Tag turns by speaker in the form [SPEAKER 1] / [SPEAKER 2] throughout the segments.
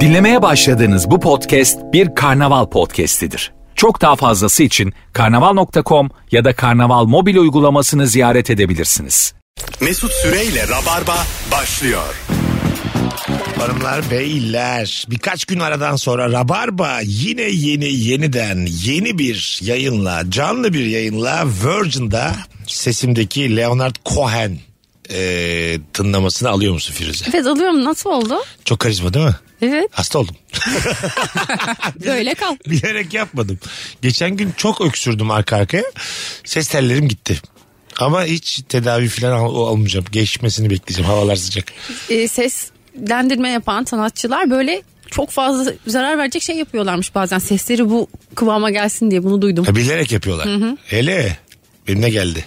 [SPEAKER 1] Dinlemeye başladığınız bu podcast bir karnaval podcastidir. Çok daha fazlası için karnaval.com ya da karnaval mobil uygulamasını ziyaret edebilirsiniz.
[SPEAKER 2] Mesut Süreyle Rabarba başlıyor.
[SPEAKER 3] Hanımlar, beyler birkaç gün aradan sonra Rabarba yine yeni yeniden yeni bir yayınla canlı bir yayınla Virgin'da sesimdeki Leonard Cohen e, tınlamasını alıyor musun Firuze?
[SPEAKER 4] Evet alıyorum nasıl oldu?
[SPEAKER 3] Çok karizma değil mi?
[SPEAKER 4] Evet
[SPEAKER 3] Hasta oldum. Ah,
[SPEAKER 4] böyle kal.
[SPEAKER 3] Bilerek yapmadım. Geçen gün çok öksürdüm arka arkaya. Ses tellerim gitti. Ama hiç tedavi falan al- almayacağım. Geçmesini bekleyeceğim. Havalar sıcak.
[SPEAKER 4] Ee, seslendirme yapan sanatçılar böyle çok fazla zarar verecek şey yapıyorlarmış bazen. Sesleri bu kıvama gelsin diye bunu duydum.
[SPEAKER 3] Ha, bilerek yapıyorlar. Hele benimle geldi.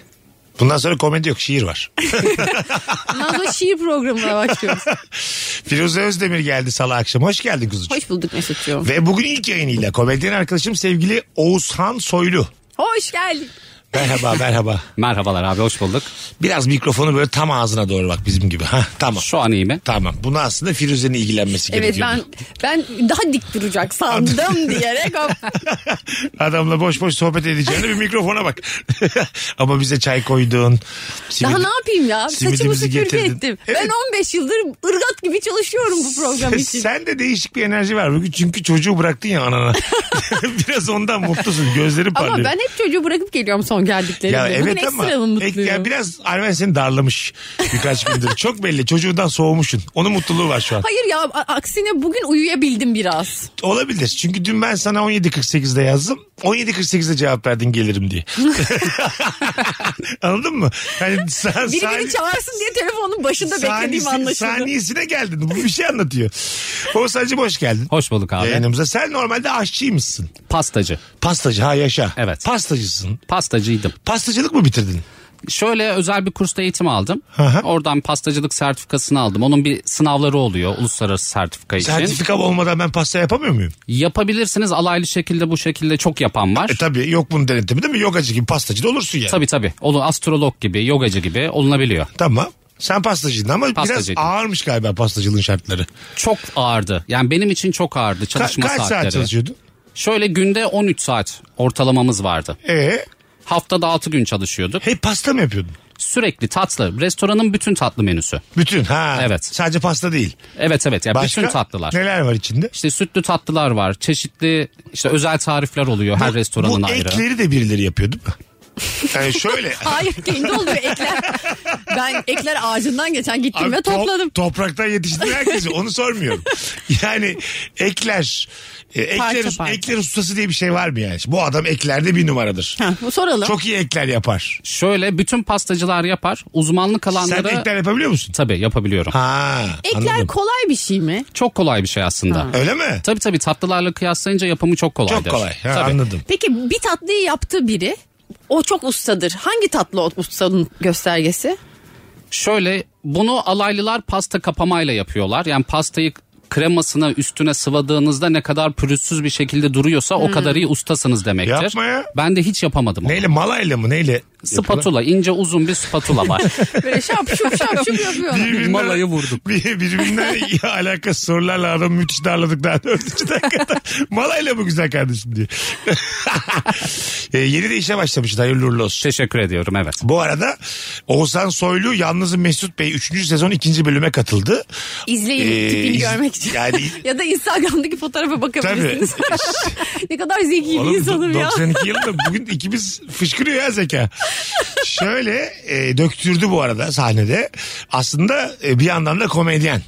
[SPEAKER 3] Bundan sonra komedi yok şiir var.
[SPEAKER 4] Ondan sonra şiir programına başlıyoruz.
[SPEAKER 3] Firuze Özdemir geldi salı akşam. Hoş geldin kuzucuğum.
[SPEAKER 4] Hoş bulduk Mesut'cuğum.
[SPEAKER 3] Ve bugün ilk yayınıyla komedyen arkadaşım sevgili Oğuzhan Soylu.
[SPEAKER 4] Hoş geldin.
[SPEAKER 3] Merhaba merhaba.
[SPEAKER 5] Merhabalar abi hoş bulduk.
[SPEAKER 3] Biraz mikrofonu böyle tam ağzına doğru bak bizim gibi. Ha tamam.
[SPEAKER 5] Şu an iyi mi?
[SPEAKER 3] Tamam. Bunu aslında Firuze'nin ilgilenmesi
[SPEAKER 4] Evet
[SPEAKER 3] gerekiyor.
[SPEAKER 4] ben ben daha dik duracak sandım diyerek hop.
[SPEAKER 3] Adamla boş boş sohbet edeceğine bir mikrofona bak. Ama bize çay koydun. simit-
[SPEAKER 4] daha ne yapayım ya saçımı
[SPEAKER 3] simidimizi
[SPEAKER 4] süpürge
[SPEAKER 3] getirdin.
[SPEAKER 4] ettim.
[SPEAKER 3] Evet.
[SPEAKER 4] Ben 15 yıldır ırgat gibi çalışıyorum bu program için.
[SPEAKER 3] Sen de değişik bir enerji var bugün çünkü çocuğu bıraktın ya anana. Biraz ondan mutlusun gözlerin
[SPEAKER 4] Ama
[SPEAKER 3] parlıyor.
[SPEAKER 4] ben hep çocuğu bırakıp geliyorum son geldiklerinde.
[SPEAKER 3] Ya
[SPEAKER 4] Bugün
[SPEAKER 3] evet ama
[SPEAKER 4] ekstra mı
[SPEAKER 3] ek-
[SPEAKER 4] mutluyum?
[SPEAKER 3] ya biraz Arven seni darlamış birkaç gündür. Çok belli çocuğundan soğumuşsun. Onun mutluluğu var şu an.
[SPEAKER 4] Hayır ya a- aksine bugün uyuyabildim biraz.
[SPEAKER 3] Olabilir. Çünkü dün ben sana 17.48'de yazdım. 17.48'de cevap verdin gelirim diye. Anladın mı? Hani sen,
[SPEAKER 4] Biri beni çağırsın diye telefonun başında beklediğim anlaşıldı.
[SPEAKER 3] saniyesine geldin. Bu bir şey anlatıyor. Oğuzhan'cım hoş geldin.
[SPEAKER 5] Hoş bulduk abi.
[SPEAKER 3] Yayınımıza. Sen normalde aşçıymışsın.
[SPEAKER 5] Pastacı.
[SPEAKER 3] Pastacı ha yaşa.
[SPEAKER 5] Evet.
[SPEAKER 3] Pastacısın.
[SPEAKER 5] Pastacıydım.
[SPEAKER 3] Pastacılık mı bitirdin?
[SPEAKER 5] Şöyle özel bir kursta eğitim aldım.
[SPEAKER 3] hı.
[SPEAKER 5] Oradan pastacılık sertifikasını aldım. Onun bir sınavları oluyor uluslararası sertifika için.
[SPEAKER 3] Sertifikam olmadan ben pasta yapamıyor muyum?
[SPEAKER 5] Yapabilirsiniz alaylı şekilde bu şekilde çok yapan var.
[SPEAKER 3] E tabii yok bunun denetimi değil mi? Yogacı gibi pastacı da olursun yani.
[SPEAKER 5] Tabii tabii. Olur astrolog gibi, yogacı gibi olunabiliyor.
[SPEAKER 3] Tamam. Sen pastacıydın ama
[SPEAKER 5] Pastacıydım.
[SPEAKER 3] biraz ağırmış galiba pastacılığın şartları.
[SPEAKER 5] Çok ağırdı. Yani benim için çok ağırdı
[SPEAKER 3] Ka-
[SPEAKER 5] çalışma
[SPEAKER 3] kaç
[SPEAKER 5] saatleri.
[SPEAKER 3] saat çalışıyordun?
[SPEAKER 5] Şöyle günde 13 saat ortalamamız vardı.
[SPEAKER 3] Ee,
[SPEAKER 5] Haftada 6 gün çalışıyorduk.
[SPEAKER 3] hey pasta mı yapıyordun?
[SPEAKER 5] Sürekli tatlı. Restoranın bütün tatlı menüsü.
[SPEAKER 3] Bütün ha.
[SPEAKER 5] Evet.
[SPEAKER 3] Sadece pasta değil.
[SPEAKER 5] Evet evet. Ya
[SPEAKER 3] Başka
[SPEAKER 5] bütün tatlılar.
[SPEAKER 3] neler var içinde?
[SPEAKER 5] İşte sütlü tatlılar var. Çeşitli işte özel tarifler oluyor her restoranın
[SPEAKER 3] bu
[SPEAKER 5] ayrı.
[SPEAKER 3] ekleri de birileri yapıyor değil mi? Yani şöyle.
[SPEAKER 4] Hayır kendi oluyor ekler. Ben ekler ağacından geçen gittim
[SPEAKER 3] Abi
[SPEAKER 4] ve
[SPEAKER 3] top-
[SPEAKER 4] topladım.
[SPEAKER 3] topraktan yetiştiren herkesi onu sormuyorum. Yani ekler, e, ekler,
[SPEAKER 4] Parça parça.
[SPEAKER 3] ekler ustası diye bir şey var mı yani? Bu adam eklerde bir numaradır.
[SPEAKER 4] Ha, bu soralım.
[SPEAKER 3] Çok iyi ekler yapar.
[SPEAKER 5] Şöyle bütün pastacılar yapar. Uzmanlık alanları
[SPEAKER 3] Sen ekler yapabiliyor musun?
[SPEAKER 5] tabii yapabiliyorum.
[SPEAKER 3] Ha,
[SPEAKER 4] Ekler
[SPEAKER 3] anladım.
[SPEAKER 4] kolay bir şey mi?
[SPEAKER 5] Çok kolay bir şey aslında.
[SPEAKER 3] Öyle mi?
[SPEAKER 5] Tabii tabii tatlılarla kıyaslayınca yapımı çok kolaydır.
[SPEAKER 3] Çok kolay. Ha,
[SPEAKER 5] Tabii.
[SPEAKER 3] anladım.
[SPEAKER 4] Peki bir tatlıyı yaptı biri. O çok ustadır. Hangi tatlı o ustanın göstergesi?
[SPEAKER 5] Şöyle bunu alaylılar pasta kapamayla yapıyorlar. Yani pastayı kremasını üstüne sıvadığınızda ne kadar pürüzsüz bir şekilde duruyorsa o kadar iyi ustasınız demektir.
[SPEAKER 3] Yapma ya.
[SPEAKER 5] Ben de hiç yapamadım. onu.
[SPEAKER 3] Neyle malayla mı neyle?
[SPEAKER 5] Spatula ince uzun bir spatula var.
[SPEAKER 4] Böyle şap şup şap şup yapıyorlar.
[SPEAKER 3] Birbirinden-
[SPEAKER 5] Malayı vurduk.
[SPEAKER 3] Bir, birbirinden iyi alakası sorularla adam müthiş darladık daha dördüncü dakikada. malayla mı güzel kardeşim diye. e, yeni de işe başlamışsın hayırlı uğurlu olsun.
[SPEAKER 5] Teşekkür ediyorum evet.
[SPEAKER 3] Bu arada Oğuzhan Soylu Yalnız'ın Mesut Bey 3. sezon 2. bölüme katıldı.
[SPEAKER 4] İzleyin
[SPEAKER 3] Ee,
[SPEAKER 4] tipini
[SPEAKER 3] iz-
[SPEAKER 4] görmek için.
[SPEAKER 3] yani-
[SPEAKER 4] ya da Instagram'daki fotoğrafa
[SPEAKER 3] Tabii.
[SPEAKER 4] bakabilirsiniz. ne kadar zeki bir
[SPEAKER 3] Oğlum,
[SPEAKER 4] insanım ya.
[SPEAKER 3] 92 yılında bugün ikimiz fışkırıyor ya zeka. Şöyle e, döktürdü bu arada sahnede. Aslında e, bir yandan da komedyen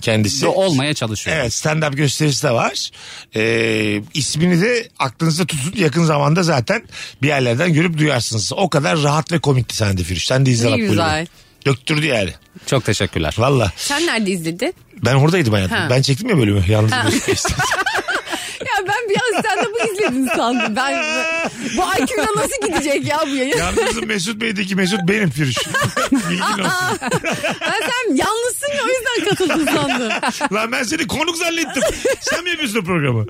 [SPEAKER 3] kendisi.
[SPEAKER 5] De olmaya çalışıyorum.
[SPEAKER 3] Evet stand-up gösterisi de var. Ee, ismini de aklınızda tutun. Yakın zamanda zaten bir yerlerden görüp duyarsınız. O kadar rahat ve komikti sende Firuş. Sen de izle
[SPEAKER 4] Ne
[SPEAKER 3] bak bu
[SPEAKER 4] güzel.
[SPEAKER 3] bölümü. Döktürdü yani.
[SPEAKER 5] Çok teşekkürler.
[SPEAKER 3] Valla.
[SPEAKER 4] Sen nerede izledin?
[SPEAKER 3] Ben oradaydım hayatım.
[SPEAKER 4] Ha.
[SPEAKER 3] Ben çektim ya bölümü. Yalnız gösterisi.
[SPEAKER 4] Ya ben bir an sen de bu izledin sandım. Ben bu IQ'ya nasıl gidecek ya bu yayın?
[SPEAKER 3] Yalnızın Mesut Bey'deki Mesut benim Firuş. Bilgin olsun.
[SPEAKER 4] Ben sen yalnızsın ya o yüzden hemen katıldın sandım.
[SPEAKER 3] Lan ben seni konuk zannettim. Sen mi yapıyorsun o programı?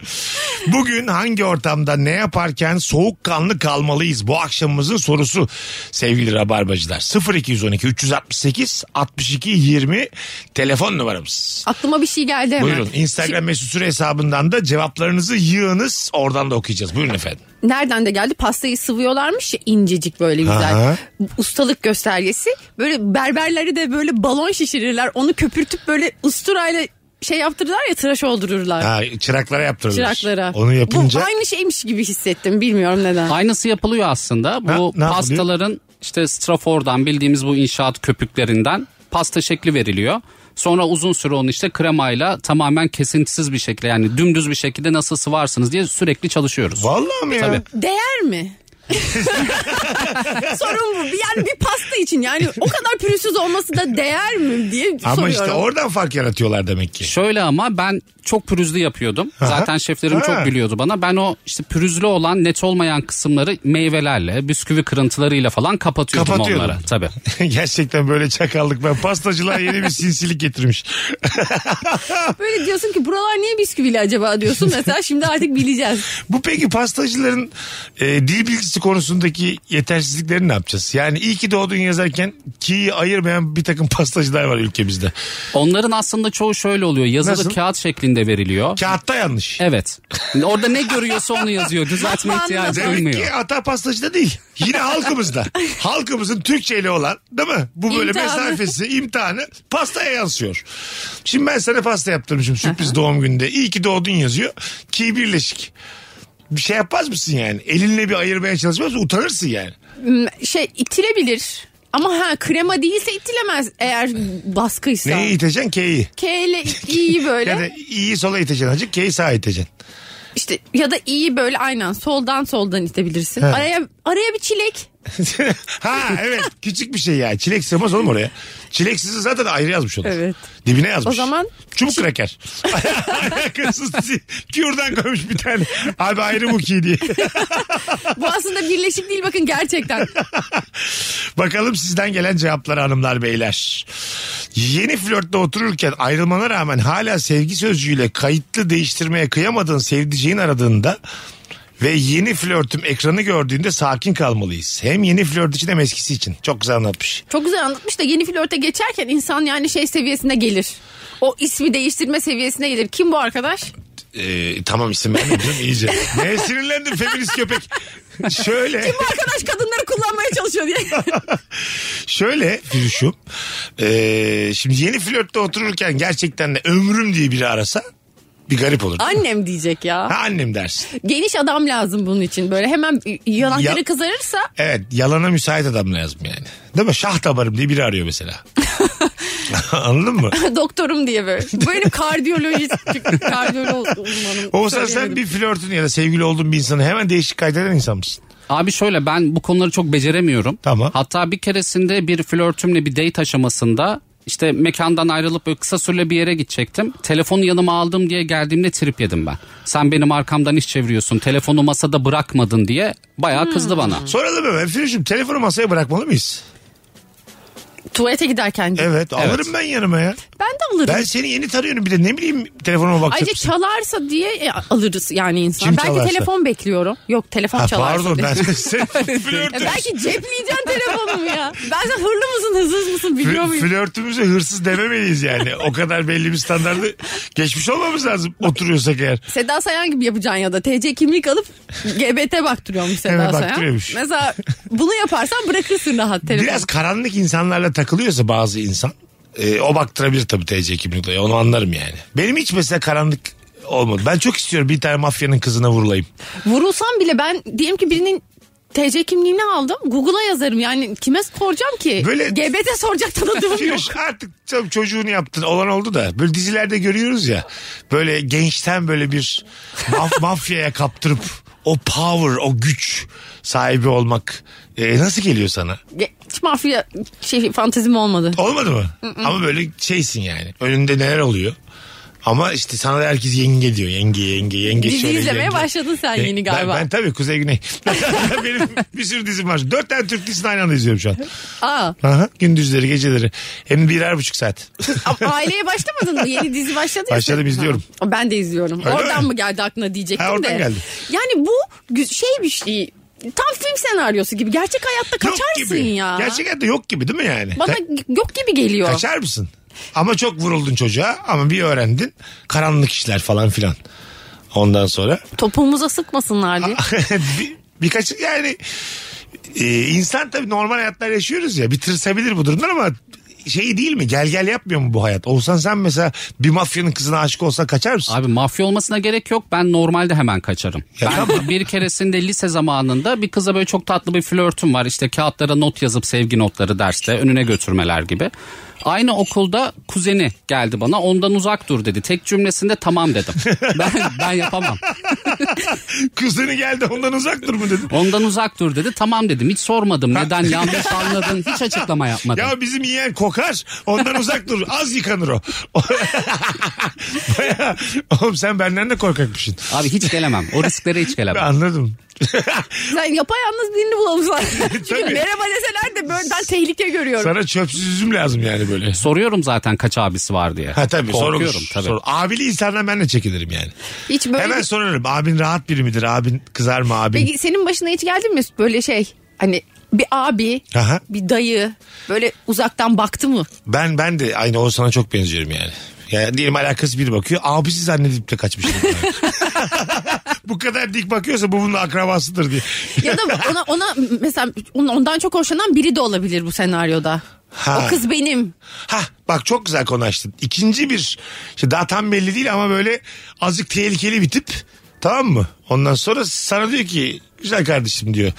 [SPEAKER 3] Bugün hangi ortamda ne yaparken soğukkanlı kalmalıyız? Bu akşamımızın sorusu sevgili Rabarbacılar. 0212 368 62 20 telefon numaramız.
[SPEAKER 4] Aklıma bir şey geldi hemen.
[SPEAKER 3] Buyurun Instagram mesut süre hesabından da cevaplarınızı yığınız. Oradan da okuyacağız. Buyurun efendim.
[SPEAKER 4] nereden de geldi pastayı sıvıyorlarmış ya incecik böyle güzel.
[SPEAKER 3] Aha.
[SPEAKER 4] Ustalık göstergesi. Böyle berberleri de böyle balon şişirirler. Onu köpürtüp böyle usturayla şey yaptırırlar ya tıraş oldururlar.
[SPEAKER 3] Ha, çıraklara yaptırılır.
[SPEAKER 4] Çıraklara.
[SPEAKER 3] Onu yapınca.
[SPEAKER 4] Bu aynı şeymiş gibi hissettim bilmiyorum neden.
[SPEAKER 5] Aynısı yapılıyor aslında.
[SPEAKER 3] Ha,
[SPEAKER 5] Bu
[SPEAKER 3] ne yapılıyor?
[SPEAKER 5] pastaların işte strafordan bildiğimiz bu inşaat köpüklerinden pasta şekli veriliyor. Sonra uzun süre onu işte kremayla tamamen kesintisiz bir şekilde yani dümdüz bir şekilde nasıl sıvarsınız diye sürekli çalışıyoruz.
[SPEAKER 3] Vallahi mi ya?
[SPEAKER 5] Tabii.
[SPEAKER 4] Değer mi? Sorun bu. Yani bir pasta için yani o kadar pürüzsüz olması da değer mi diye
[SPEAKER 3] Ama
[SPEAKER 4] soruyorum.
[SPEAKER 3] işte oradan fark yaratıyorlar demek ki.
[SPEAKER 5] Şöyle ama ben çok pürüzlü yapıyordum. Zaten şeflerim
[SPEAKER 3] Ha.
[SPEAKER 5] çok gülüyordu bana. Ben o işte pürüzlü olan net olmayan kısımları meyvelerle, bisküvi kırıntılarıyla falan kapatıyordum
[SPEAKER 3] Kapatıyordun.
[SPEAKER 5] onları. Tabii.
[SPEAKER 3] Gerçekten böyle çakallık ben. Pastacılar yeni bir sinsilik getirmiş.
[SPEAKER 4] Böyle diyorsun ki buralar niye bisküvili acaba diyorsun. Mesela şimdi artık bileceğiz.
[SPEAKER 3] Bu peki pastacıların e, dil bilgisi konusundaki yetersizliklerini ne yapacağız? Yani iyi ki doğdun yazarken ki ayırmayan bir takım pastacılar var ülkemizde.
[SPEAKER 5] Onların aslında çoğu şöyle oluyor. Yazılı
[SPEAKER 3] Nasıl?
[SPEAKER 5] kağıt şeklinde veriliyor.
[SPEAKER 3] Kağıtta yanlış.
[SPEAKER 5] Evet. Orada ne görüyorsa onu yazıyor. Düzeltme ihtiyacı
[SPEAKER 3] Demek
[SPEAKER 5] duymuyor.
[SPEAKER 3] ki hata pastacıda değil. Yine halkımızda. Halkımızın Türkçe ile olan değil mi? Bu böyle
[SPEAKER 4] İmtihanı.
[SPEAKER 3] mesafesi, imtihanı pastaya yansıyor. Şimdi ben sana pasta yaptırmışım sürpriz doğum günde. İyi ki doğdun yazıyor. Ki birleşik. Bir şey yapmaz mısın yani? Elinle bir ayırmaya çalışmaz mısın? Utanırsın yani.
[SPEAKER 4] Hmm, Şey itilebilir. Ama ha krema değilse itilemez eğer baskıysa.
[SPEAKER 3] Neyi iteceksin? K'yi.
[SPEAKER 4] K ile iyi böyle.
[SPEAKER 3] Ya da iyi sola iteceksin azıcık, K'yi sağa iteceksin.
[SPEAKER 4] İşte ya da iyi böyle aynen soldan soldan itebilirsin. Araya araya bir çilek.
[SPEAKER 3] ha evet küçük bir şey ya. Çilek sığmaz oğlum oraya. Çileksizi zaten ayrı yazmış olur.
[SPEAKER 4] Evet.
[SPEAKER 3] Dibine yazmış.
[SPEAKER 4] O zaman-
[SPEAKER 3] Çubuk kraker. Alakasız kürdan koymuş bir tane. Abi ayrı bu ki diye.
[SPEAKER 4] Bu aslında birleşik değil bakın gerçekten.
[SPEAKER 3] Bakalım sizden gelen cevaplar hanımlar beyler. Yeni flörtte otururken ayrılmana rağmen hala sevgi sözcüğüyle kayıtlı değiştirmeye kıyamadığın sevdiceğin aradığında ve yeni flörtüm ekranı gördüğünde sakin kalmalıyız. Hem yeni flört için hem eskisi için. Çok güzel anlatmış.
[SPEAKER 4] Çok güzel anlatmış da yeni flörte geçerken insan yani şey seviyesine gelir. O ismi değiştirme seviyesine gelir. Kim bu arkadaş?
[SPEAKER 3] Ee, tamam isim vermedim canım, iyice. Neye sinirlendin feminist köpek? Şöyle.
[SPEAKER 4] Bu arkadaş kadınları kullanmaya çalışıyor diye.
[SPEAKER 3] Şöyle Firuş'um. Ee, şimdi yeni flörtte otururken gerçekten de ömrüm diye biri arasa bir garip olur.
[SPEAKER 4] Annem diyecek
[SPEAKER 3] Ha
[SPEAKER 4] ya.
[SPEAKER 3] annem dersin.
[SPEAKER 4] Geniş adam lazım bunun için. Böyle hemen yanakları
[SPEAKER 3] Ya-
[SPEAKER 4] kızarırsa
[SPEAKER 3] Evet yalana müsait adam lazım yani. Değil mi? Şah damarım diye biri arıyor mesela. Anladın mı?
[SPEAKER 4] doktorum diye böyle. Böyle kardiyolojist kardiyolog uzmanım.
[SPEAKER 3] Oğuzhan sen
[SPEAKER 4] Söyleyemedim.
[SPEAKER 3] bir flörtün ya da sevgili olduğun bir insanı hemen değişik kaydeden insan mısın?
[SPEAKER 5] Abi şöyle ben bu konuları çok beceremiyorum.
[SPEAKER 3] Tamam.
[SPEAKER 5] Hatta bir keresinde bir flörtümle bir date aşamasında işte mekandan ayrılıp böyle kısa süreli bir yere gidecektim. Telefonu yanıma aldım diye geldiğimde trip yedim ben. Sen benim arkamdan iş çeviriyorsun. Telefonu masada bırakmadın diye bayağı kızdı bana.
[SPEAKER 3] Soralım hemen Firuş'um telefonu masaya bırakmalı mıyız?
[SPEAKER 4] Tuvalete giderken.
[SPEAKER 3] Evet alırım ben yanıma ya.
[SPEAKER 4] Ben de alırım.
[SPEAKER 3] Ben seni yeni tanıyorum bir de ne bileyim telefonuma bakacak
[SPEAKER 4] Ayrıca
[SPEAKER 3] mısın?
[SPEAKER 4] çalarsa diye e, alırız yani insan.
[SPEAKER 3] Kim
[SPEAKER 4] belki
[SPEAKER 3] çalarsa?
[SPEAKER 4] telefon bekliyorum. Yok telefon
[SPEAKER 3] Ha,
[SPEAKER 4] çalarsa.
[SPEAKER 3] pardon
[SPEAKER 4] diye.
[SPEAKER 3] ben sen
[SPEAKER 4] E,
[SPEAKER 3] flörtüm.
[SPEAKER 4] belki cepleyeceksin telefonumu ya. Ben sen hırlı mısın hızlı mısın biliyor
[SPEAKER 3] Flö-
[SPEAKER 4] muyum?
[SPEAKER 3] flörtümüze hırsız dememeliyiz yani. O kadar belli bir standardı geçmiş olmamız lazım oturuyorsak eğer.
[SPEAKER 4] Seda Sayan gibi yapacaksın ya da TC kimlik alıp GBT baktırıyormuş Seda
[SPEAKER 3] Evet,
[SPEAKER 4] Sayan.
[SPEAKER 3] baktırıyormuş.
[SPEAKER 4] Mesela bunu yaparsan bırakırsın rahat telefonu.
[SPEAKER 3] Biraz karanlık insanlarla takılıyorsa bazı insan e, o baktırabilir tabii TC kimlikle onu anlarım yani. Benim hiç mesela karanlık olmadı. Ben çok istiyorum bir tane mafyanın kızına vurulayım.
[SPEAKER 4] Vurulsam bile ben diyelim ki birinin TC kimliğini aldım. Google'a yazarım yani kime soracağım ki?
[SPEAKER 3] Böyle-
[SPEAKER 4] GBT soracak tanıdığım yok.
[SPEAKER 3] Firuş artık tam çocuğunu yaptın olan oldu da böyle dizilerde görüyoruz ya böyle gençten böyle bir maf- mafyaya kaptırıp o power o güç sahibi olmak e, nasıl geliyor sana?
[SPEAKER 4] Ge- Hiç mafya şey, fantezim olmadı.
[SPEAKER 3] Olmadı mı? Ama böyle şeysin yani. Önünde neler oluyor? Ama işte sana da herkes yenge diyor. Yenge yenge yenge
[SPEAKER 4] Dizi
[SPEAKER 3] şöyle
[SPEAKER 4] izlemeye
[SPEAKER 3] yenge.
[SPEAKER 4] başladın sen
[SPEAKER 3] Yenge-
[SPEAKER 4] yeni galiba.
[SPEAKER 3] Ben, ben tabii Kuzey Güney. Benim bir sürü dizim var. Dört tane Türk dizisini aynı anda izliyorum şu an.
[SPEAKER 4] Aa,
[SPEAKER 3] Aha, gündüzleri geceleri. Hem birer buçuk saat.
[SPEAKER 4] a- aileye başlamadın mı? Yeni dizi başladı ya.
[SPEAKER 3] Başladım,
[SPEAKER 4] senin.
[SPEAKER 3] izliyorum.
[SPEAKER 4] Ha, Ben de izliyorum.
[SPEAKER 3] Öyle
[SPEAKER 4] oradan
[SPEAKER 3] mi?
[SPEAKER 4] mı geldi aklına diyecektim
[SPEAKER 3] Ha, oradan
[SPEAKER 4] de.
[SPEAKER 3] geldi.
[SPEAKER 4] Yani bu gü- şey bir şey. Tam film senaryosu gibi. Gerçek hayatta
[SPEAKER 3] yok
[SPEAKER 4] kaçarsın
[SPEAKER 3] gibi.
[SPEAKER 4] ya.
[SPEAKER 3] Gerçekten de yok gibi değil mi yani?
[SPEAKER 4] Bana
[SPEAKER 3] Ka-
[SPEAKER 4] yok gibi geliyor.
[SPEAKER 3] kaçar mısın? Ama çok vuruldun çocuğa ama bir öğrendin. Karanlık işler falan filan. Ondan sonra.
[SPEAKER 4] Topumuza sıkmasınlar diye.
[SPEAKER 3] bir, birkaç yani e, insan tabii normal hayatlar yaşıyoruz ya bitirsebilir bu durumlar ama şey değil mi gel gel yapmıyor mu bu hayat? Olsan sen mesela bir mafyanın kızına aşık olsa kaçar mısın?
[SPEAKER 5] Abi mafya olmasına gerek yok. Ben normalde hemen kaçarım.
[SPEAKER 3] Ya
[SPEAKER 5] Ben bir keresinde lise zamanında bir kıza böyle çok tatlı bir flörtüm var. İşte kağıtlara not yazıp sevgi notları derste önüne götürmeler gibi. Aynı okulda kuzeni geldi bana ondan uzak dur dedi. Tek cümlesinde tamam dedim. Ben, ben yapamam.
[SPEAKER 3] Kızını geldi ondan uzak dur mu dedim.
[SPEAKER 5] Ondan uzak dur dedi. Tamam dedim. Hiç sormadım. Neden yanlış anladın? Hiç açıklama yapmadım.
[SPEAKER 3] Ya bizim yiyen kokar ondan uzak dur az yıkanır o. Baya, oğlum sen benden de korkakmışsın.
[SPEAKER 5] Abi hiç gelemem. O risklere hiç
[SPEAKER 3] Ben
[SPEAKER 5] gelemem.
[SPEAKER 3] anladım.
[SPEAKER 4] Sen yapayalnız birini bulalım Çünkü
[SPEAKER 3] Tabii.
[SPEAKER 4] merhaba deseler de böyle ben tehlike görüyorum.
[SPEAKER 3] Sana çöpsüz üzüm lazım yani böyle.
[SPEAKER 5] Soruyorum zaten kaç abisi var diye.
[SPEAKER 3] Ha tabii
[SPEAKER 5] Korkuyorum
[SPEAKER 3] sorulur.
[SPEAKER 5] tabii.
[SPEAKER 3] Sorul- Abili insandan ben de çekinirim yani.
[SPEAKER 4] Hiç böyle
[SPEAKER 3] Hemen
[SPEAKER 4] bir-
[SPEAKER 3] sorarım. Abin rahat biri midir? Abin kızar mı abin?
[SPEAKER 4] Peki senin başına hiç geldi mi böyle şey hani bir abi
[SPEAKER 3] Aha.
[SPEAKER 4] bir dayı böyle uzaktan baktı mı?
[SPEAKER 3] Ben ben de aynı o sana çok benziyorum yani. Yani diyelim alakası bir bakıyor. Abisi zannedip de kaçmış. bu kadar dik bakıyorsa bu bunun akrabasıdır diye.
[SPEAKER 4] Ya da ona ona mesela on- ondan çok hoşlanan biri de olabilir bu senaryoda.
[SPEAKER 3] Ha.
[SPEAKER 4] O kız benim.
[SPEAKER 3] Ha bak çok güzel konu açtın. İkinci bir işte daha tam belli değil ama böyle azıcık tehlikeli bir tip. Tamam mı? Ondan sonra sana diyor ki güzel kardeşim diyor.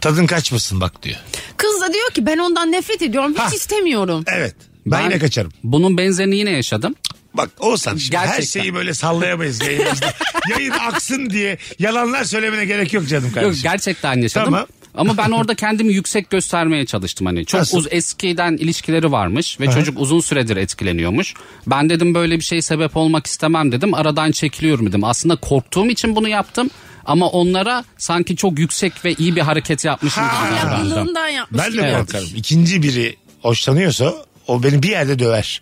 [SPEAKER 3] Tadın kaçmasın bak diyor.
[SPEAKER 4] Kız da diyor ki ben ondan nefret ediyorum. Hiç
[SPEAKER 3] Ha.
[SPEAKER 4] istemiyorum.
[SPEAKER 3] Evet. Ben, yine kaçarım.
[SPEAKER 5] Bunun benzerini yine yaşadım.
[SPEAKER 3] Bak Oğuzhan şimdi her
[SPEAKER 5] Gerçekten.
[SPEAKER 3] şeyi böyle sallayamayız yayınımızda. Yayın aksın diye yalanlar söylemene gerek yok canım kardeşim.
[SPEAKER 5] Yok gerçekten yaşadım.
[SPEAKER 3] Tamam.
[SPEAKER 5] Ama ben orada kendimi yüksek göstermeye çalıştım hani. Çok
[SPEAKER 3] Nasıl?
[SPEAKER 5] uz eskiden ilişkileri varmış ve
[SPEAKER 3] Aha.
[SPEAKER 5] çocuk uzun süredir etkileniyormuş. Ben dedim böyle bir şey sebep olmak istemem dedim. Aradan çekiliyorum dedim. Aslında korktuğum için bunu yaptım. Ama onlara sanki çok yüksek ve iyi bir hareket yapmışım gibi davrandım.
[SPEAKER 4] Ahlaklılığından yapmış
[SPEAKER 3] Ben de
[SPEAKER 4] gibi.
[SPEAKER 3] korkarım. İkinci biri hoşlanıyorsa o beni bir yerde döver.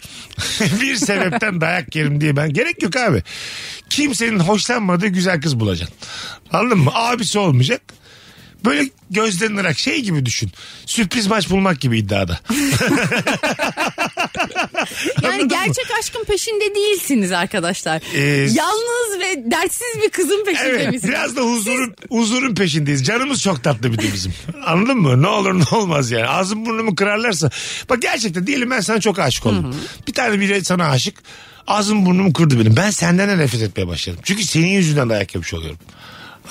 [SPEAKER 3] bir sebepten dayak yerim diye ben. Gerek yok abi. Kimsenin hoşlanmadığı güzel kız bulacaksın. Anladın mı? Abisi olmayacak. Böyle gözlenerek şey gibi düşün. Sürpriz maç bulmak gibi iddiada.
[SPEAKER 4] Yani gerçek aşkın peşinde değilsiniz arkadaşlar.
[SPEAKER 3] Ee,
[SPEAKER 4] Yalnız ve dertsiz bir kızın peşinde
[SPEAKER 3] Evet
[SPEAKER 4] misiniz?
[SPEAKER 3] biraz da huzurun, huzurun peşindeyiz. Canımız çok tatlı bir de bizim. Anladın mı? Ne olur ne olmaz yani. Ağzım burnumu kırarlarsa. Bak gerçekten diyelim ben sana çok aşık oldum. Bir tane biri sana aşık. Ağzım burnumu kırdı benim. Ben senden de nefret etmeye başladım. Çünkü senin yüzünden dayak yemiş oluyorum.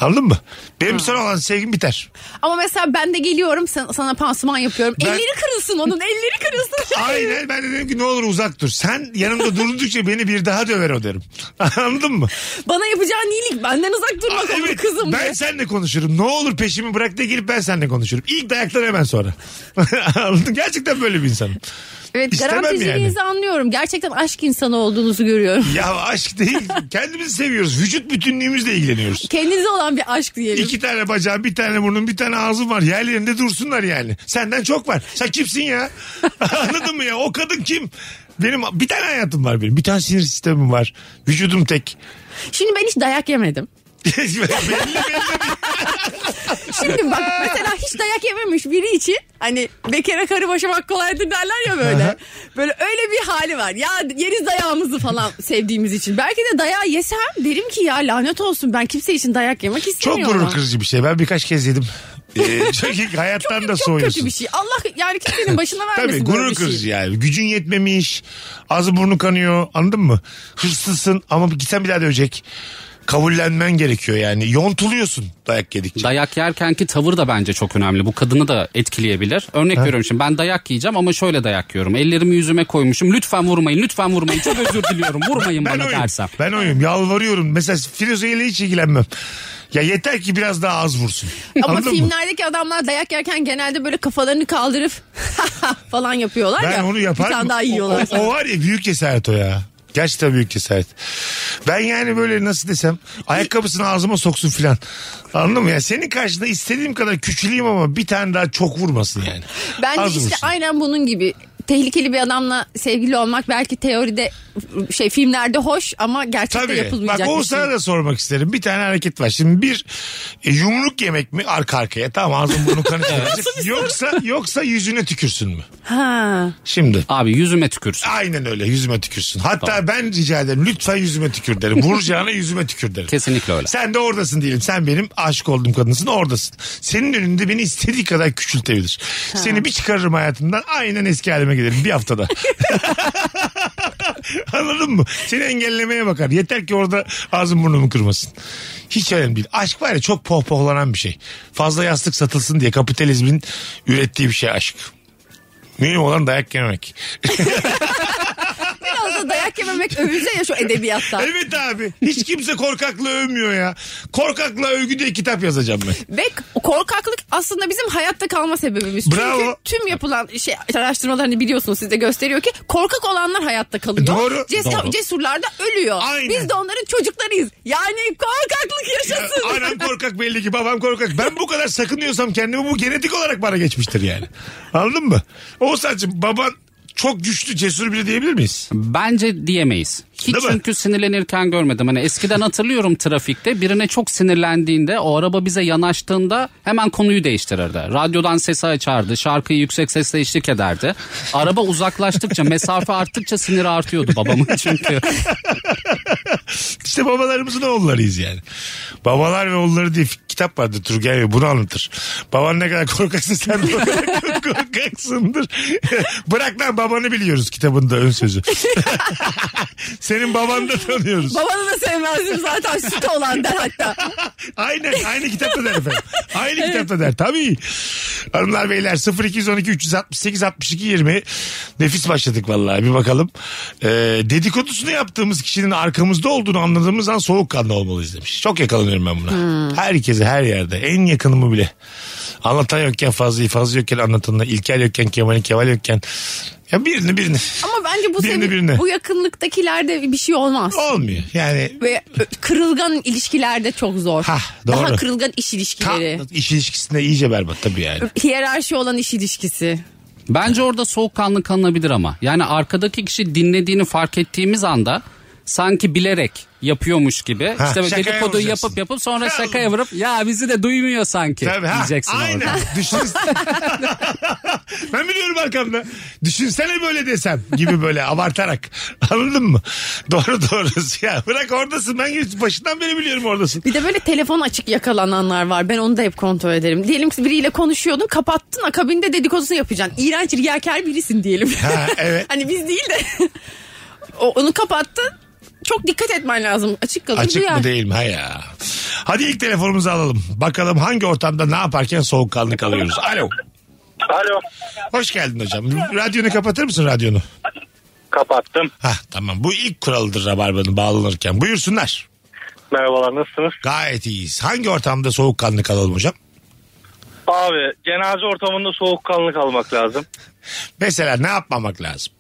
[SPEAKER 3] Anladın mı? Benim sana olan sevgim biter.
[SPEAKER 4] Ama mesela ben de geliyorum sana, sana pansuman yapıyorum.
[SPEAKER 3] Ben-
[SPEAKER 4] Elleri kırılsın onun elleri kırılsın.
[SPEAKER 3] Aynen ben de dedim ki ne olur uzak dur. Sen yanımda durdukça beni bir daha döver o derim. Anladın mı?
[SPEAKER 4] Bana yapacağın iyilik benden uzak durmak
[SPEAKER 3] Aa,
[SPEAKER 4] oldu kızım.
[SPEAKER 3] ben
[SPEAKER 4] diye.
[SPEAKER 3] seninle konuşurum. Ne olur peşimi bırak da gelip ben seninle konuşurum. İlk dayaktan hemen sonra. Anladın? Gerçekten böyle bir insanım.
[SPEAKER 4] Evet
[SPEAKER 3] İstemem
[SPEAKER 4] garanticiliğinizi anlıyorum. Gerçekten aşk insanı olduğunuzu görüyorum.
[SPEAKER 3] Ya aşk değil. Kendimizi seviyoruz. Vücut bütünlüğümüzle ilgileniyoruz.
[SPEAKER 4] Kendinize olan bir aşk diyelim.
[SPEAKER 3] İki tane bacağım, bir tane burnum, bir tane ağzım var. Yerlerinde dursunlar yani. Senden çok var. Sen kimsin ya? Anladın mı ya? O kadın kim? Benim bir tane hayatım var benim. Bir tane sinir sistemim var. Vücudum tek.
[SPEAKER 4] Şimdi ben hiç dayak yemedim.
[SPEAKER 3] belli belli.
[SPEAKER 4] Şimdi bak mesela hiç dayak yememiş biri için hani bekara karı boşamak kolaydır derler ya böyle. böyle öyle bir hali var. Ya yeriz dayağımızı falan sevdiğimiz için. Belki de dayağı yesem derim ki ya lanet olsun ben kimse için dayak yemek
[SPEAKER 3] Çok
[SPEAKER 4] istemiyorum.
[SPEAKER 3] gurur kırıcı bir şey. Ben birkaç kez yedim. Ee, çünkü hayattan da
[SPEAKER 4] Çok
[SPEAKER 3] soğuyorsun.
[SPEAKER 4] kötü bir şey. Allah yani kimsenin başına vermesin
[SPEAKER 3] Tabii
[SPEAKER 4] böyle
[SPEAKER 3] gurur
[SPEAKER 4] bir şey.
[SPEAKER 3] kırıcı yani. Gücün yetmemiş. Ağzı burnu kanıyor. Anladın mı? Hırslısın ama gitsen bir daha dövecek. Kabullenmen gerekiyor yani. Yontuluyorsun dayak yedikçe.
[SPEAKER 5] Dayak yerkenki tavır da bence çok önemli. Bu kadını da etkileyebilir. Örnek veriyorum şimdi ben dayak yiyeceğim ama şöyle dayak yiyorum. Ellerimi yüzüme koymuşum. Lütfen vurmayın, lütfen vurmayın. Çok özür diliyorum. Vurmayın
[SPEAKER 3] ben
[SPEAKER 5] bana
[SPEAKER 3] oyum.
[SPEAKER 5] dersem.
[SPEAKER 3] Ben oyum. Yalvarıyorum. Mesela Firuze ile hiç ilgilenmem. Ya yeter ki biraz daha az vursun.
[SPEAKER 4] Ama
[SPEAKER 3] Anladın mı?
[SPEAKER 4] filmlerdeki adamlar dayak yerken genelde böyle kafalarını kaldırıp falan yapıyorlar
[SPEAKER 3] Ben
[SPEAKER 4] ya.
[SPEAKER 3] onu yapar
[SPEAKER 4] Bir tane daha yiyorlar.
[SPEAKER 3] O, o var ya büyük cesaret o ya. Gerçekten büyük cesaret. Ben yani böyle nasıl desem ayakkabısını ağzıma soksun filan. Anladın mı? Yani senin karşında istediğim kadar küçüleyim ama bir tane daha çok vurmasın yani.
[SPEAKER 4] Bence
[SPEAKER 3] Az
[SPEAKER 4] işte
[SPEAKER 3] vursun.
[SPEAKER 4] aynen bunun gibi. Tehlikeli bir adamla sevgili olmak belki teoride şey filmlerde hoş ama gerçekte
[SPEAKER 3] Tabii. Bak
[SPEAKER 4] yapılmayacak bir şey.
[SPEAKER 3] Oğuzhan'a da sormak isterim. Bir tane hareket var. Şimdi bir e, yumruk yemek mi arka arkaya? Tamam ağzın burnu kanayacak. yoksa yoksa yüzüne tükürsün mü?
[SPEAKER 4] Ha.
[SPEAKER 3] Şimdi.
[SPEAKER 5] Abi yüzüme tükürsün.
[SPEAKER 3] Aynen öyle yüzüme tükürsün. Hatta ben rica ederim lütfen yüzüme tükür derim. Vuracağına yüzüme tükür derim.
[SPEAKER 5] Kesinlikle öyle.
[SPEAKER 3] Sen de oradasın diyelim. Sen benim aşık olduğum kadınsın oradasın. Senin önünde beni istediği kadar küçültebilir. Seni bir çıkarırım hayatımdan aynen eski halime gelirim bir haftada. Anladın mı? Seni engellemeye bakar. Yeter ki orada ağzın burnumu kırmasın. Hiç önemli değil. Aşk var ya çok pohpohlanan bir şey. Fazla yastık satılsın diye kapitalizmin ürettiği bir şey aşk. Mühim olan dayak yememek.
[SPEAKER 4] Biraz da dayak yememek övülse ya şu edebiyatta.
[SPEAKER 3] Evet abi. Hiç kimse korkakla övmüyor ya. Korkakla övgü diye kitap yazacağım ben.
[SPEAKER 4] Ve korkaklık aslında bizim hayatta kalma sebebimiz.
[SPEAKER 3] Bravo.
[SPEAKER 4] Çünkü tüm yapılan şey araştırmalarını biliyorsunuz siz de gösteriyor ki korkak olanlar hayatta kalıyor.
[SPEAKER 3] E, Doğru.
[SPEAKER 4] Ces-
[SPEAKER 3] Doğru.
[SPEAKER 4] Cesurlar da ölüyor.
[SPEAKER 3] Aynen.
[SPEAKER 4] Biz de onların çocuklarıyız. Yani korkaklık yaşasın.
[SPEAKER 3] Anam korkak belli ki babam korkak. Ben bu kadar sakınıyorsam kendimi bu genetik olarak bana geçmiştir yani. Anladın mı? Oğuzhan'cığım baban çok güçlü cesur biri diyebilir miyiz?
[SPEAKER 5] Bence diyemeyiz. Hiç
[SPEAKER 3] Değil mi?
[SPEAKER 5] çünkü sinirlenirken görmedim. Hani eskiden hatırlıyorum trafikte birine çok sinirlendiğinde o araba bize yanaştığında hemen konuyu değiştirirdi. Radyodan sesi açardı, şarkıyı yüksek sesle eşlik ederdi. Araba uzaklaştıkça, mesafe arttıkça siniri artıyordu babamın çünkü.
[SPEAKER 3] İşte babalarımızın oğullarıyız yani. Babalar ve oğulları diye kitap vardı Turgay Bey bunu anlatır. Baban ne kadar korkaksa sen de o kadar çok korkaksındır. Bırak lan babanı biliyoruz kitabında ön sözü. Senin babanı da tanıyoruz.
[SPEAKER 4] Babanı da sevmezdim zaten süt olan der hatta.
[SPEAKER 3] Aynen aynı kitapta der efendim. Aynı kitapta der tabii. Hanımlar beyler 0212 368 62 20 nefis başladık vallahi bir bakalım. Ee, dedikodusunu yaptığımız kişinin arkamızda olduğunu anladığımız an soğukkanlı olmalıyız demiş. Çok yakalanıyorum ben buna.
[SPEAKER 4] Hmm.
[SPEAKER 3] Herkese her yerde en yakınımı bile. Anlatan yokken fazla fazla yokken anlatanla İlker yokken Kemal'in Kemal yokken. Ya birini birini.
[SPEAKER 4] Ama bence bu
[SPEAKER 3] Birini
[SPEAKER 4] senin
[SPEAKER 3] birine.
[SPEAKER 4] bu yakınlıktakilerde bir şey olmaz.
[SPEAKER 3] Olmuyor yani
[SPEAKER 4] Ve kırılgan ilişkilerde çok zor.
[SPEAKER 3] Hah,
[SPEAKER 4] Daha
[SPEAKER 3] doğru.
[SPEAKER 4] kırılgan iş
[SPEAKER 3] ta,
[SPEAKER 4] ilişkileri.
[SPEAKER 3] iş ilişkisinde iyice berbat tabii yani.
[SPEAKER 4] Hiyerarşi olan iş ilişkisi.
[SPEAKER 5] Bence orada soğukkanlı kalınabilir ama. Yani arkadaki kişi dinlediğini fark ettiğimiz anda sanki bilerek yapıyormuş gibi.
[SPEAKER 3] Ha,
[SPEAKER 5] işte
[SPEAKER 3] şakaya
[SPEAKER 5] dedikoduyu
[SPEAKER 3] vuracaksın.
[SPEAKER 5] yapıp yapıp sonra
[SPEAKER 3] Ya
[SPEAKER 5] şakaya
[SPEAKER 3] oğlum.
[SPEAKER 5] vurup ya bizi de duymuyor sanki
[SPEAKER 3] Tabii, ha,
[SPEAKER 5] diyeceksin
[SPEAKER 3] aynen.
[SPEAKER 5] orada.
[SPEAKER 3] Düşün- ben biliyorum arkamda. Düşünsene böyle desem gibi böyle abartarak. Anladın mı? Doğru doğrusu ya. Bırak oradasın. Ben başından beri biliyorum oradasın.
[SPEAKER 4] Bir de böyle telefon açık yakalananlar var. Ben onu da hep kontrol ederim. Diyelim ki biriyle konuşuyordun kapattın akabinde dedikodusunu yapacaksın. İğrenç riyakar birisin diyelim.
[SPEAKER 3] Ha, evet.
[SPEAKER 4] hani biz değil de o, onu kapattın. Çok dikkat etmen lazım. Açık kalır
[SPEAKER 3] Açık
[SPEAKER 4] duyar.
[SPEAKER 3] mı değil mi? Ha ya. Hadi ilk telefonumuzu alalım. Bakalım hangi ortamda ne yaparken soğukkanlı kalıyoruz. Alo.
[SPEAKER 6] Alo.
[SPEAKER 3] Hoş geldin hocam. Radyonu kapatır mısın radyonu?
[SPEAKER 6] Kapattım.
[SPEAKER 3] Ha tamam. Bu ilk kuralıdır Rabarba'nın bağlanırken. Buyursunlar.
[SPEAKER 6] Merhabalar nasılsınız?
[SPEAKER 3] Gayet iyiyiz. Hangi ortamda soğukkanlı kalalım hocam?
[SPEAKER 6] Abi cenaze ortamında soğukkanlı kalmak lazım.
[SPEAKER 3] Mesela ne yapmamak lazım?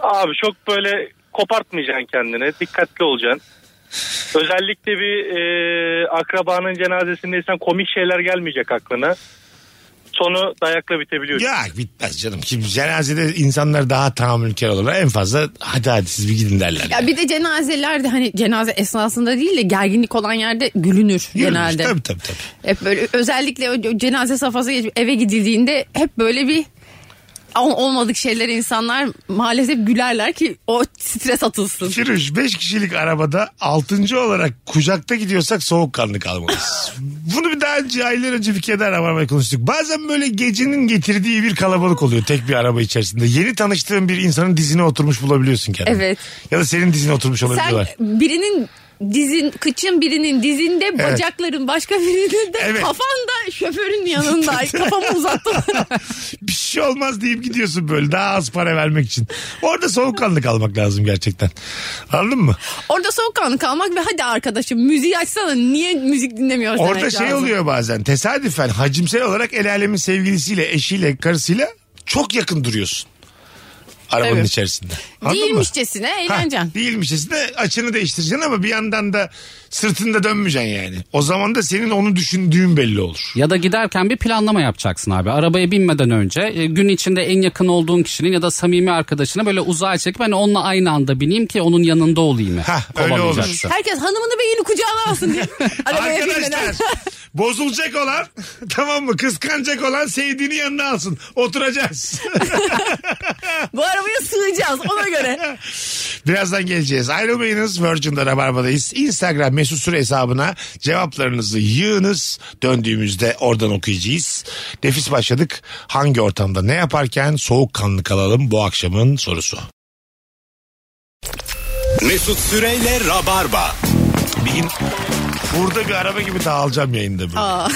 [SPEAKER 6] Abi çok böyle kopartmayacaksın kendini. Dikkatli olacaksın. Özellikle bir e, akrabanın cenazesindeysen komik şeyler gelmeyecek aklına. Sonu dayakla bitebiliyor.
[SPEAKER 3] Ya bitmez canım. Şimdi cenazede insanlar daha tahammülkar olurlar. En fazla hadi hadi siz bir gidin derler.
[SPEAKER 4] Ya bir de cenazelerde hani cenaze esnasında değil de gerginlik olan yerde gülünür
[SPEAKER 3] Yürümüş.
[SPEAKER 4] genelde.
[SPEAKER 3] Tabii tabii tabii.
[SPEAKER 4] Hep böyle özellikle o cenaze safhası geçip eve gidildiğinde hep böyle bir ol- olmadık şeylere insanlar maalesef gülerler ki o stres atılsın.
[SPEAKER 3] Firuş 5 kişilik arabada 6. olarak kucakta gidiyorsak soğukkanlı kalmalıyız. Bunu bir daha önce aylar önce bir kere arabayla konuştuk. Bazen böyle gecenin getirdiği bir kalabalık oluyor tek bir araba içerisinde. Yeni tanıştığın bir insanın dizine oturmuş bulabiliyorsun kendini.
[SPEAKER 4] Evet.
[SPEAKER 3] Ya da senin dizine oturmuş
[SPEAKER 4] Sen
[SPEAKER 3] olabiliyorlar.
[SPEAKER 4] birinin dizin kıçın birinin dizinde bacakların başka birinin de
[SPEAKER 3] Evet.
[SPEAKER 4] kafan da şoförün yanında Ay, kafamı uzattım.
[SPEAKER 3] bir şey olmaz deyip gidiyorsun böyle daha az para vermek için. Orada soğukkanlı kalmak lazım gerçekten. Anladın mı?
[SPEAKER 4] Orada soğukkanlı kalmak ve hadi arkadaşım müziği açsana niye müzik dinlemiyorsun
[SPEAKER 3] Orada şey oluyor bazen tesadüfen hacimsel olarak el alemin sevgilisiyle eşiyle karısıyla çok yakın duruyorsun. arabanın
[SPEAKER 4] Tabii.
[SPEAKER 3] içerisinde. Anladın mı?
[SPEAKER 4] Değilmişçesine eğleneceksin.
[SPEAKER 3] Ha, değilmişiz de açını değiştireceksin ama bir yandan da sırtında dönmeyeceksin yani. O zaman da senin onu düşündüğün belli olur.
[SPEAKER 5] Ya da giderken bir planlama yapacaksın abi. Arabaya binmeden önce e, gün içinde en yakın olduğun kişinin ya da samimi arkadaşına böyle uzağa çekip hani onunla aynı anda bineyim ki onun yanında olayım.
[SPEAKER 3] Hah, öyle olur.
[SPEAKER 5] Kovalayacaksın.
[SPEAKER 4] Herkes hanımını beyini kucağına alsın diye. Arabaya binmeden.
[SPEAKER 3] Arkadaşlar bozulacak olan tamam mı kıskanacak olan sevdiğini yanına alsın. Oturacağız.
[SPEAKER 4] Bu arabaya sığacağız ona göre.
[SPEAKER 3] Birazdan geleceğiz. Ayrılmayınız. Virgin'de Rabarba'dayız. Instagram mesut süre hesabına cevaplarınızı yığınız. Döndüğümüzde oradan okuyacağız. Nefis başladık. Hangi ortamda ne yaparken soğukkanlı kalalım bu akşamın sorusu.
[SPEAKER 2] Mesut Süreyle Rabarba.
[SPEAKER 3] Bir gün burada bir araba gibi dağılacağım yayında böyle.
[SPEAKER 4] Aa,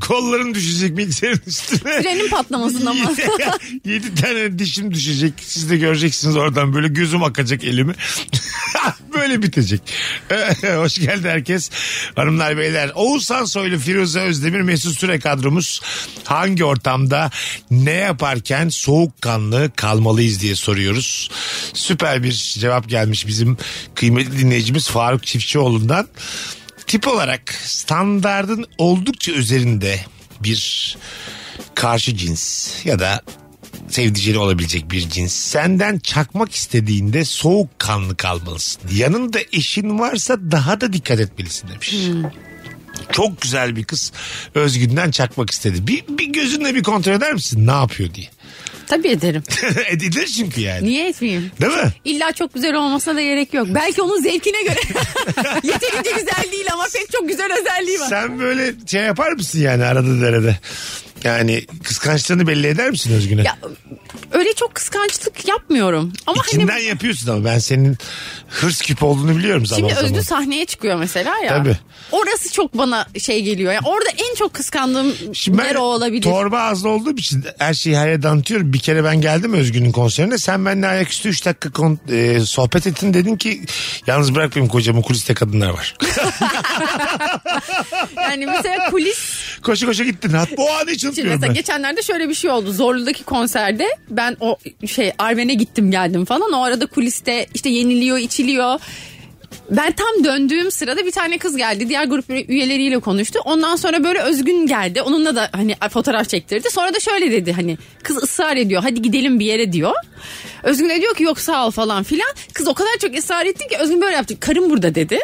[SPEAKER 3] Kollarım düşecek bilgisayarın üstüne.
[SPEAKER 4] trenin patlamasın ama.
[SPEAKER 3] Yedi tane dişim düşecek. Siz de göreceksiniz oradan böyle gözüm akacak elimi. böyle bitecek. Hoş geldi herkes. Hanımlar beyler. Oğuzhan Soylu, Firuze Özdemir, Mesut Süre kadromuz. Hangi ortamda ne yaparken soğukkanlı kalmalıyız diye soruyoruz. Süper bir cevap gelmiş bizim kıymetli dinleyicimiz Faruk Çiftçioğlu'ndan. Tip olarak standardın oldukça üzerinde bir karşı cins ya da sevdiceli olabilecek bir cins senden çakmak istediğinde soğukkanlı kalmalısın. Yanında eşin varsa daha da dikkat etmelisin demiş. Çok güzel bir kız Özgün'den çakmak istedi. Bir, bir gözünle bir kontrol eder misin ne yapıyor diye.
[SPEAKER 4] Tabii ederim.
[SPEAKER 3] Edilir çünkü yani.
[SPEAKER 4] Niye etmeyeyim?
[SPEAKER 3] Değil mi?
[SPEAKER 4] İlla çok güzel olmasına da gerek yok. Belki onun zevkine göre. Yeterince güzel değil ama pek çok güzel özelliği var.
[SPEAKER 3] Sen böyle şey yapar mısın yani arada derede? Yani kıskançlığını belli eder misin Özgün'e?
[SPEAKER 4] Ya, öyle çok kıskançlık yapmıyorum. Ama
[SPEAKER 3] İçinden
[SPEAKER 4] hani
[SPEAKER 3] yapıyorsun ama ben senin hırs küpü olduğunu biliyorum zaman
[SPEAKER 4] şimdi
[SPEAKER 3] zaman.
[SPEAKER 4] Özgü sahneye çıkıyor mesela ya.
[SPEAKER 3] Tabii.
[SPEAKER 4] Orası çok bana şey geliyor. Yani orada en çok kıskandığım
[SPEAKER 3] Şimdi ben
[SPEAKER 4] yer o olabilir.
[SPEAKER 3] torba ağızlı olduğum için her şeyi hayal dantıyorum. Bir kere ben geldim Özgün'ün konserine. Sen benimle ayaküstü 3 dakika kon- e, sohbet ettin. Dedin ki yalnız bırak benim kocamı kuliste kadınlar var.
[SPEAKER 4] Yani mesela kulis
[SPEAKER 3] koşa koşa gittin. Hat- O anı hiç
[SPEAKER 4] Şimdi
[SPEAKER 3] unutmuyorum
[SPEAKER 4] mesela
[SPEAKER 3] ben.
[SPEAKER 4] geçenlerde şöyle bir şey oldu. Zorlu'daki konserde ben o şey Armen'e gittim geldim falan. O arada kuliste işte yeniliyor içiliyor. Ben tam döndüğüm sırada bir tane kız geldi. Diğer grup üyeleriyle konuştu. Ondan sonra böyle Özgün geldi. Onunla da hani fotoğraf çektirdi. Sonra da şöyle dedi hani kız ısrar ediyor. Hadi gidelim bir yere diyor. Özgün de diyor ki yok sağ ol falan filan. Kız o kadar çok ısrar etti ki Özgün böyle yaptı. Karım burada dedi.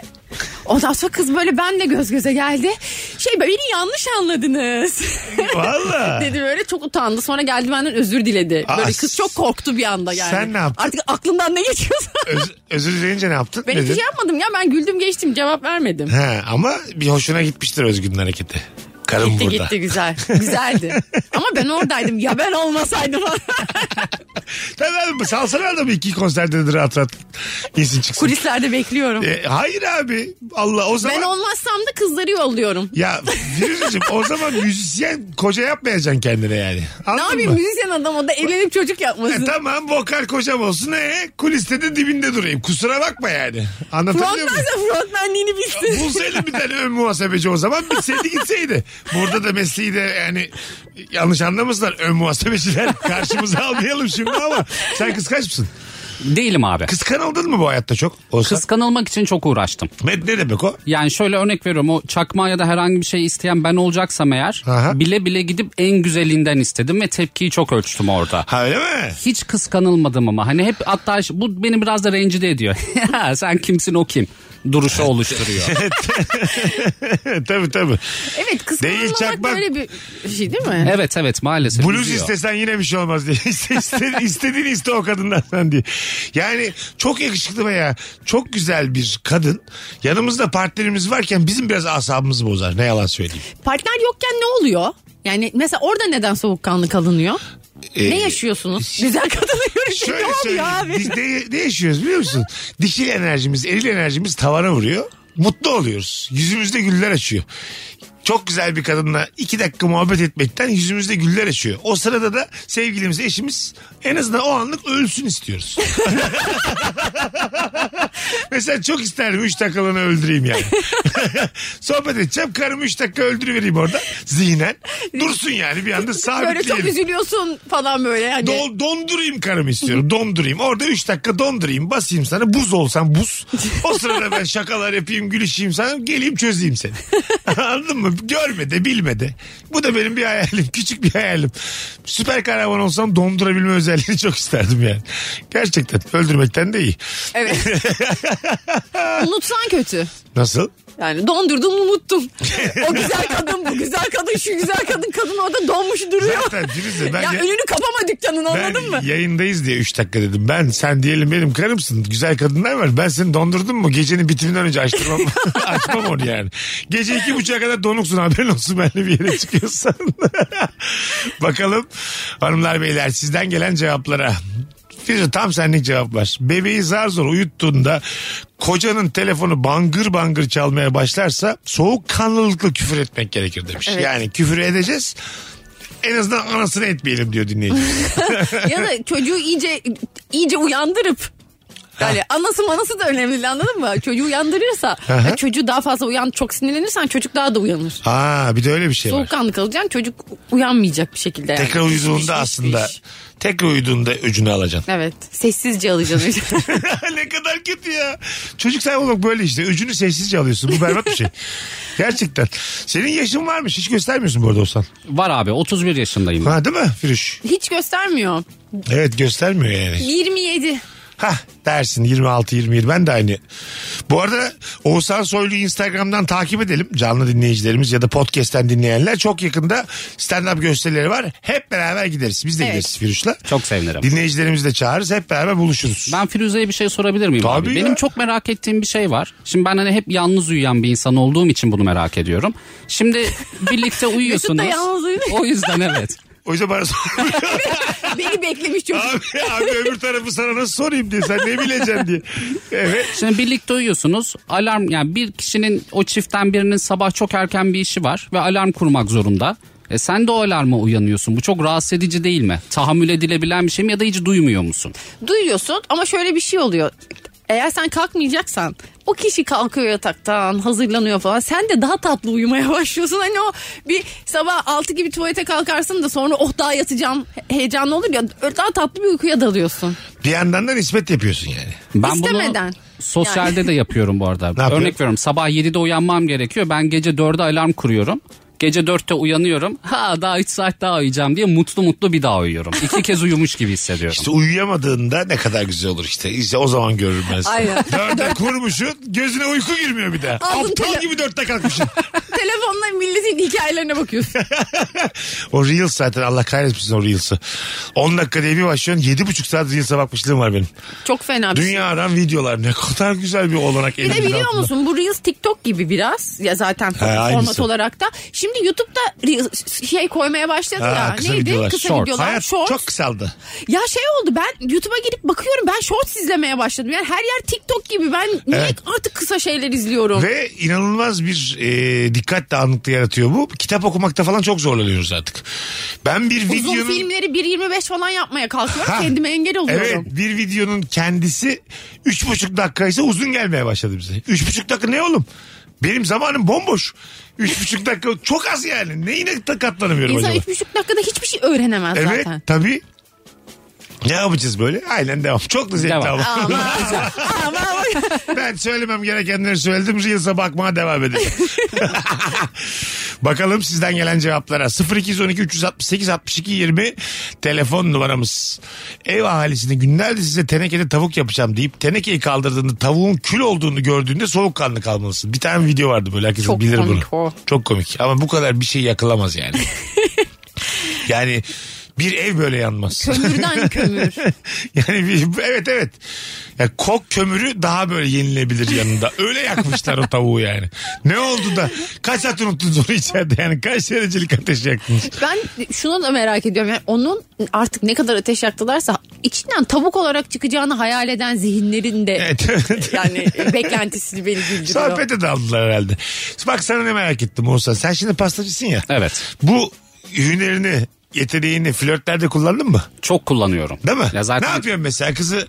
[SPEAKER 4] Ondan sonra kız böyle benle göz göze geldi. Şey beni yanlış anladınız.
[SPEAKER 3] Valla.
[SPEAKER 4] dedi böyle çok utandı. Sonra geldi benden özür diledi.
[SPEAKER 3] Aa,
[SPEAKER 4] böyle kız çok korktu bir anda yani.
[SPEAKER 3] sen ne yaptın?
[SPEAKER 4] Artık aklından ne geçiyorsa.
[SPEAKER 3] Öz- özür dileyince ne yaptın?
[SPEAKER 4] ben hiçbir
[SPEAKER 3] Dedin.
[SPEAKER 4] şey yapmadım ya ben güldüm geçtim cevap vermedim.
[SPEAKER 3] He, ama bir hoşuna gitmiştir Özgün'ün hareketi. Karım
[SPEAKER 4] gitti
[SPEAKER 3] burada.
[SPEAKER 4] gitti güzel. Güzeldi. Ama ben oradaydım ya ben olmasaydım.
[SPEAKER 3] Tabii abi salsana adamı iki konserde de rahat rahat insin çıksın.
[SPEAKER 4] Kulislerde bekliyorum.
[SPEAKER 3] E, hayır abi. Allah o zaman.
[SPEAKER 4] Ben olmazsam da kızları yolluyorum.
[SPEAKER 3] Ya Firuze'cim o zaman müzisyen koca yapmayacaksın kendine yani. Anladın
[SPEAKER 4] Ne
[SPEAKER 3] mı?
[SPEAKER 4] yapayım müzisyen adam o da evlenip çocuk
[SPEAKER 3] E,
[SPEAKER 4] yapmasın.
[SPEAKER 3] tamam vokal kocam olsun. E, kuliste de dibinde durayım. Kusura bakma yani. Anlatabiliyor muyum?
[SPEAKER 4] Frontmense frontmenliğini bilsin.
[SPEAKER 3] Bulsaydı bir tane ön muhasebeci o zaman bitseydi gitseydi. Burada da mesleği de yani yanlış anlamasınlar ön muhasebeciler karşımıza almayalım şimdi ama sen kıskanç mısın?
[SPEAKER 5] Değilim abi.
[SPEAKER 3] Kıskanıldın mı bu hayatta çok? Olsa.
[SPEAKER 5] Kıskanılmak için çok uğraştım.
[SPEAKER 3] Med ne demek o?
[SPEAKER 5] Yani şöyle örnek veriyorum o çakma ya da herhangi bir şey isteyen ben olacaksam eğer
[SPEAKER 3] Aha.
[SPEAKER 5] bile bile gidip en güzelinden istedim ve tepkiyi çok ölçtüm orada.
[SPEAKER 3] Ha öyle mi?
[SPEAKER 5] Hiç kıskanılmadım ama hani hep hatta şu- bu beni biraz da rencide ediyor. Ya Sen kimsin o kim? Duruşu oluşturuyor.
[SPEAKER 3] E, tabii tabii.
[SPEAKER 4] Evet
[SPEAKER 3] Değil,
[SPEAKER 4] kıskanılmak
[SPEAKER 3] çakmak.
[SPEAKER 4] böyle bir şey değil mi?
[SPEAKER 5] evet evet maalesef.
[SPEAKER 3] Bluz
[SPEAKER 5] üzüyor.
[SPEAKER 3] istesen yine bir şey olmaz diye. İste, iste- istediğini iste o kadından sen diye. Yani çok yakışıklı veya çok güzel bir kadın yanımızda partnerimiz varken bizim biraz asabımızı bozar. Ne yalan söyleyeyim.
[SPEAKER 4] Partner yokken ne oluyor? Yani mesela orada neden soğukkanlı kalınıyor?
[SPEAKER 3] Ee,
[SPEAKER 4] ne yaşıyorsunuz? Güzel kadını görünce
[SPEAKER 3] Şöyle
[SPEAKER 4] ne oluyor
[SPEAKER 3] söyleyeyim.
[SPEAKER 4] abi?
[SPEAKER 3] Biz ne, ne yaşıyoruz biliyor musun? Dişil enerjimiz, eril enerjimiz tavana vuruyor. Mutlu oluyoruz. Yüzümüzde güller açıyor. Çok güzel bir kadınla iki dakika muhabbet etmekten yüzümüzde güller açıyor. O sırada da sevgilimiz, eşimiz en azından o anlık ölsün istiyoruz. Mesela çok isterdim 3 dakikalığına öldüreyim yani. Sohbet edeceğim. Karımı 3 dakika öldürüvereyim orada. Zihnen. Dursun yani bir anda
[SPEAKER 4] Böyle çok
[SPEAKER 3] sabitleyelim.
[SPEAKER 4] üzülüyorsun falan böyle. Hani.
[SPEAKER 3] Dol- dondurayım karımı istiyorum. Dondurayım. Orada 3 dakika dondurayım. Basayım sana. Buz olsan buz. O sırada ben şakalar yapayım, gülüşeyim sana. Geleyim çözeyim seni. Anladın mı? Görme de bilme de. Bu da benim bir hayalim. Küçük bir hayalim. Süper kahraman olsam dondurabilme özelliğini çok isterdim yani. Gerçekten. Öldürmekten de iyi.
[SPEAKER 4] Evet. Unutsan kötü.
[SPEAKER 3] Nasıl?
[SPEAKER 4] Yani dondurdum unuttum. O güzel kadın bu güzel kadın şu güzel kadın kadın orada donmuş duruyor.
[SPEAKER 3] Zaten Firuze ben
[SPEAKER 4] ya
[SPEAKER 3] ya-
[SPEAKER 4] önünü kapama dükkanın anladın
[SPEAKER 3] Ben
[SPEAKER 4] mı?
[SPEAKER 3] yayındayız diye 3 dakika dedim. Ben sen diyelim benim karımsın. Güzel kadınlar var. Ben seni dondurdum mu? Gecenin bitiminden önce açtırmam. Açmam onu yani. Gece iki buçuğa kadar donuksun haberin olsun. Benle bir yere çıkıyorsan. Bakalım hanımlar beyler sizden gelen cevaplara. Firuze tam senlik cevaplar. Bebeği zar zor uyuttuğunda kocanın telefonu bangır bangır çalmaya başlarsa soğuk kanlılıkla küfür etmek gerekir demiş. Yani küfür edeceğiz. En azından anasını etmeyelim diyor dinleyici.
[SPEAKER 4] ya da çocuğu iyice iyice uyandırıp yani anası manası da önemli değil, anladın mı? Çocuğu uyandırırsa
[SPEAKER 3] hı.
[SPEAKER 4] ya çocuğu daha fazla uyan çok sinirlenirsen çocuk daha da uyanır.
[SPEAKER 3] Ha bir de öyle bir şey var.
[SPEAKER 4] Soğukkanlı kalacaksın çocuk uyanmayacak bir şekilde. yani.
[SPEAKER 3] Tekrar
[SPEAKER 4] Piş, piş,
[SPEAKER 3] uyuduğunda
[SPEAKER 4] piş,
[SPEAKER 3] aslında
[SPEAKER 4] piş.
[SPEAKER 3] tekrar uyuduğunda öcünü alacaksın.
[SPEAKER 4] Evet sessizce alacaksın.
[SPEAKER 3] ne kadar kötü ya. Çocuk sahibi olmak böyle işte. Öcünü sessizce alıyorsun. Bu berbat bir şey. Gerçekten. Senin yaşın varmış. Hiç göstermiyorsun bu arada Oğuzhan.
[SPEAKER 5] Var abi 31 yaşındayım.
[SPEAKER 3] Ha değil mi Firuş?
[SPEAKER 4] Hiç göstermiyor.
[SPEAKER 3] Evet göstermiyor yani.
[SPEAKER 4] 27.
[SPEAKER 3] Ha dersin 26 21 ben de aynı. Bu arada Oğuzhan Soylu Instagram'dan takip edelim. Canlı dinleyicilerimiz ya da podcast'ten dinleyenler çok yakında stand-up gösterileri var. Hep beraber gideriz. Biz de
[SPEAKER 4] Evet.
[SPEAKER 3] gideriz Firuş'la.
[SPEAKER 5] Çok sevinirim.
[SPEAKER 3] Dinleyicilerimizi de çağırırız. Hep beraber buluşuruz.
[SPEAKER 5] Ben Firuze'ye bir şey sorabilir miyim
[SPEAKER 3] Tabii
[SPEAKER 5] abi?
[SPEAKER 3] ya.
[SPEAKER 5] Benim çok merak ettiğim bir şey var. Şimdi ben hani hep yalnız uyuyan bir insan olduğum için bunu merak ediyorum. Şimdi birlikte uyuyorsunuz.
[SPEAKER 4] yalnız uyuyor.
[SPEAKER 5] O yüzden evet.
[SPEAKER 3] O yüzden bana sor.
[SPEAKER 4] Beni beklemiş çocuk.
[SPEAKER 3] abi, abi öbür tarafı sana nasıl sorayım diye. Sen ne bileceksin diye. Evet.
[SPEAKER 5] Şimdi birlikte uyuyorsunuz. Alarm yani bir kişinin o çiftten birinin sabah çok erken bir işi var ve alarm kurmak zorunda. E sen de o alarma uyanıyorsun. Bu çok rahatsız edici değil mi? Tahammül edilebilen bir şey mi ya da hiç duymuyor musun?
[SPEAKER 4] duyuyorsun ama şöyle bir şey oluyor. Eğer sen kalkmayacaksan o kişi kalkıyor yataktan hazırlanıyor falan sen de daha tatlı uyumaya başlıyorsun. Hani o bir sabah 6 gibi tuvalete kalkarsın da sonra oh daha yatacağım he- heyecanlı olur ya öyle daha tatlı bir uykuya dalıyorsun.
[SPEAKER 3] Bir yandan da nispet yapıyorsun yani.
[SPEAKER 5] Ben
[SPEAKER 4] İstemeden.
[SPEAKER 5] bunu sosyalde de yapıyorum bu arada.
[SPEAKER 3] yapıyorsun?
[SPEAKER 5] Örnek veriyorum sabah 7'de uyanmam gerekiyor. Ben gece 4'e alarm kuruyorum. Gece 4'te uyanıyorum. Ha daha 3 saat daha uyuyacağım diye mutlu mutlu bir daha uyuyorum. İki kez uyumuş gibi hissediyorum.
[SPEAKER 3] İşte uyuyamadığında ne kadar güzel olur işte. İşte o zaman görürüm ben seni.
[SPEAKER 4] Aynen.
[SPEAKER 3] Dörde kurmuşsun gözüne uyku girmiyor bir daha.
[SPEAKER 4] Aldın
[SPEAKER 3] Aptal
[SPEAKER 4] tele-
[SPEAKER 3] gibi dörtte kalkmışsın.
[SPEAKER 4] Telefonla milletin hikayelerine bakıyorsun.
[SPEAKER 3] o Reels zaten Allah kahretmesin o Reels'ı. 10 dakika diye bir başlıyorsun. 7,5 saat Reels'a bakmışlığım var benim.
[SPEAKER 4] Çok fena bir şey.
[SPEAKER 3] Dünyadan videolar ne kadar güzel bir olanak
[SPEAKER 4] Bir de
[SPEAKER 3] elimin
[SPEAKER 4] biliyor
[SPEAKER 3] altında.
[SPEAKER 4] musun bu Reels TikTok gibi biraz ya zaten
[SPEAKER 3] aynısı.
[SPEAKER 4] format olarak da. Şimdi YouTube'da Reels şey koymaya başladı
[SPEAKER 3] Ha,
[SPEAKER 4] ya.
[SPEAKER 3] kısa
[SPEAKER 4] Neydi?
[SPEAKER 3] videolar.
[SPEAKER 4] Kısa
[SPEAKER 5] Shorts.
[SPEAKER 4] videolar.
[SPEAKER 3] Hayat
[SPEAKER 4] shorts.
[SPEAKER 3] çok kısaldı.
[SPEAKER 4] Ya şey oldu ben YouTube'a girip bakıyorum ben shorts izlemeye başladım. Yani her yer TikTok gibi ben niye
[SPEAKER 3] Evet.
[SPEAKER 4] artık kısa şeyler izliyorum.
[SPEAKER 3] Ve inanılmaz bir e, dikkat dağınıklığı yaratıyor bu. Kitap okumakta falan çok zorlanıyoruz artık. Ben bir
[SPEAKER 4] Uzun
[SPEAKER 3] videonun...
[SPEAKER 4] filmleri 1.25 falan yapmaya kalkıyorum
[SPEAKER 3] Ha.
[SPEAKER 4] kendime engel
[SPEAKER 3] Evet
[SPEAKER 4] oluyorum.
[SPEAKER 3] bir videonun kendisi 3,5 dakikaysa uzun gelmeye başladı bize. 3,5 dakika ne oğlum? Benim zamanım bomboş. 3,5 dakika çok az yani. Neyine ta- katlanamıyorum
[SPEAKER 4] İnsan
[SPEAKER 3] acaba?
[SPEAKER 4] 3,5 dakikada hiçbir şey öğrenemez
[SPEAKER 3] Evet
[SPEAKER 4] zaten.
[SPEAKER 3] tabii. Ne yapacağız böyle? Aynen devam. Çok da zevkli
[SPEAKER 5] Devam.
[SPEAKER 3] ama.
[SPEAKER 4] Ama, ama,
[SPEAKER 3] Ben söylemem gerekenleri söyledim. Reels'e bakmaya devam edelim. Bakalım sizden gelen cevaplara. 0212 368 62 20 telefon numaramız. Ev ahalisini günlerdir size tenekede tavuk yapacağım deyip tenekeyi kaldırdığında tavuğun kül olduğunu gördüğünde soğukkanlı kalmalısın. Bir tane video vardı böyle herkes
[SPEAKER 4] Çok
[SPEAKER 3] bilir
[SPEAKER 4] komik
[SPEAKER 3] bunu.
[SPEAKER 4] o.
[SPEAKER 3] Çok komik ama bu kadar bir şey yakılamaz yani. yani bir ev böyle yanmaz.
[SPEAKER 4] kömürden kömür.
[SPEAKER 3] yani bir- evet evet. Ya kok kömürü daha böyle yenilebilir yanında. Öyle yakmışlar o tavuğu yani. Ne oldu da kaç saat unuttunuz onu içeride yani kaç derecelik ateş yaktınız?
[SPEAKER 4] Ben şunu da merak ediyorum. Yani onun artık ne kadar ateş yaktılarsa içinden tavuk olarak çıkacağını hayal eden zihinlerin de
[SPEAKER 5] E,
[SPEAKER 3] Evet. evet.
[SPEAKER 4] yani beklentisini beni güldürüyor.
[SPEAKER 3] Sohbete daldılar herhalde. Bak sana ne merak ettim Oğuzhan. Sen şimdi pastacısın ya.
[SPEAKER 5] Evet.
[SPEAKER 3] Bu hünerini yeteneğini flörtlerde kullandın mı?
[SPEAKER 5] Çok kullanıyorum.
[SPEAKER 3] Değil mi?
[SPEAKER 5] Ya zaten
[SPEAKER 3] Ne yapıyorsun mesela kızı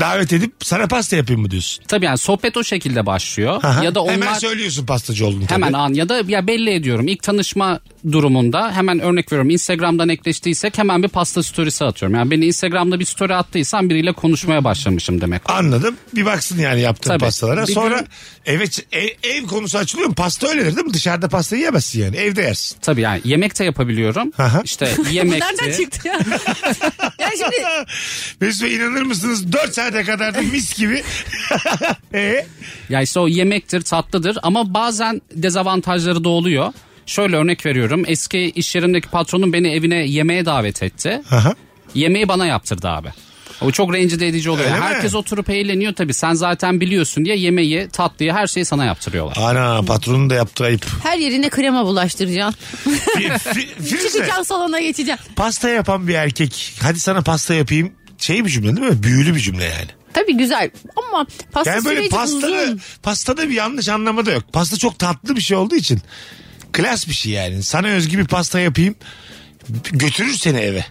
[SPEAKER 3] davet edip sana pasta yapayım mı diyorsun?
[SPEAKER 5] tabii yani sohbet o şekilde başlıyor.
[SPEAKER 3] Aha.
[SPEAKER 5] Ya da onlar
[SPEAKER 3] Hemen söylüyorsun pastacı olduğunu tabii.
[SPEAKER 5] Hemen an ya da ya belli ediyorum. İlk tanışma durumunda hemen örnek veriyorum. Instagram'dan ekleştiysek hemen bir pasta storiesi atıyorum. Yani beni Instagram'da bir story attıysan biriyle konuşmaya başlamışım demek.
[SPEAKER 3] Anladım. Bir baksın yani yaptığın
[SPEAKER 5] Tabii.
[SPEAKER 3] pastalara.
[SPEAKER 5] Bir
[SPEAKER 3] Sonra
[SPEAKER 5] gün-
[SPEAKER 3] eve ç- ev, ev konusu açılıyor mu? Pasta öyledir değil mi? Dışarıda pasta yiyemezsin yani. Evde yersin.
[SPEAKER 5] Tabii yani yemek de yapabiliyorum.
[SPEAKER 3] Aha.
[SPEAKER 5] İşte
[SPEAKER 4] Bu
[SPEAKER 5] yemek
[SPEAKER 4] nereden
[SPEAKER 5] de.
[SPEAKER 4] çıktı ya? ya şimdi
[SPEAKER 3] Mesut Bey inanır mısınız? 4 saate kadar da mis gibi. e,
[SPEAKER 5] Ya işte o yemektir, tatlıdır ama bazen dezavantajları da oluyor. Şöyle örnek veriyorum. Eski iş yerimdeki patronum beni evine yemeğe davet etti.
[SPEAKER 3] aha.
[SPEAKER 5] Yemeği bana yaptırdı abi. O çok rencide edici oluyor.
[SPEAKER 3] Öyle mi?
[SPEAKER 5] Herkes oturup eğleniyor tabii. Sen zaten biliyorsun diye yemeği, tatlıyı, her şeyi sana yaptırıyorlar.
[SPEAKER 3] Ana patronun da yaptığı ayıp.
[SPEAKER 4] her yerine krema bulaştıracaksın.
[SPEAKER 3] Fi- fi- Firuze
[SPEAKER 4] Çıkacaksın salona geçeceksin.
[SPEAKER 3] pasta yapan bir erkek. Hadi sana pasta yapayım. Şey bir cümle değil mi? Büyülü bir cümle yani.
[SPEAKER 4] Tabii güzel ama pasta
[SPEAKER 3] Yani böyle
[SPEAKER 4] süreci
[SPEAKER 3] pastada,
[SPEAKER 4] uzun.
[SPEAKER 3] pastada bir yanlış anlama da yok. Pasta çok tatlı bir şey olduğu için. Klas bir şey yani. Sana özgü bir pasta yapayım. Götürür seni eve.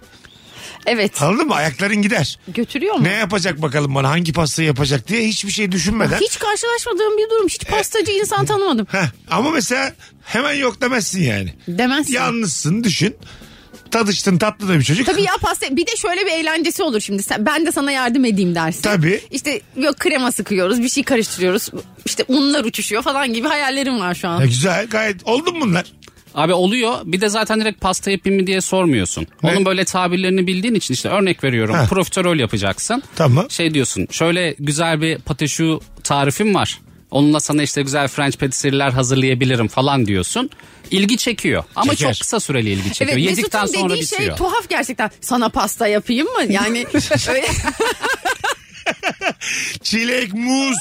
[SPEAKER 4] Evet.
[SPEAKER 3] Anladın mı? Ayakların gider.
[SPEAKER 4] Götürüyor mu?
[SPEAKER 3] Ne yapacak bakalım bana hangi pastayı yapacak diye hiçbir şey düşünmeden.
[SPEAKER 4] Hiç karşılaşmadığım bir durum. Hiç pastacı insan tanımadım.
[SPEAKER 3] Heh, ama mesela hemen yok demezsin yani.
[SPEAKER 4] Demezsin.
[SPEAKER 3] Yalnızsın düşün. Tadıştın tatlı da bir çocuk.
[SPEAKER 4] Tabii ya pasta bir de şöyle bir eğlencesi olur şimdi. Sen, ben de sana yardım edeyim dersin.
[SPEAKER 3] Tabii.
[SPEAKER 4] İşte yok krema sıkıyoruz, bir şey karıştırıyoruz. İşte unlar uçuşuyor falan gibi hayallerim var şu
[SPEAKER 3] Ya
[SPEAKER 4] an.
[SPEAKER 3] güzel gayet oldun bunlar.
[SPEAKER 5] Abi oluyor. Bir de zaten direkt pasta yapayım mı diye sormuyorsun. Onun böyle tabirlerini bildiğin için işte örnek veriyorum.
[SPEAKER 3] Ha.
[SPEAKER 5] Profiterol yapacaksın.
[SPEAKER 3] Tamam.
[SPEAKER 5] Şey diyorsun. Şöyle güzel bir pateşu tarifim var. Onunla sana işte güzel French patisserie'ler hazırlayabilirim falan diyorsun. İlgi çekiyor. Ama
[SPEAKER 3] Çeker.
[SPEAKER 5] çok kısa süreli ilgi çekiyor.
[SPEAKER 4] Mesut'un
[SPEAKER 5] Yedikten sonra
[SPEAKER 4] dediği şey
[SPEAKER 5] bitiyor.
[SPEAKER 4] tuhaf gerçekten. Sana pasta yapayım mı? Yani öyle
[SPEAKER 3] Çilek, muz,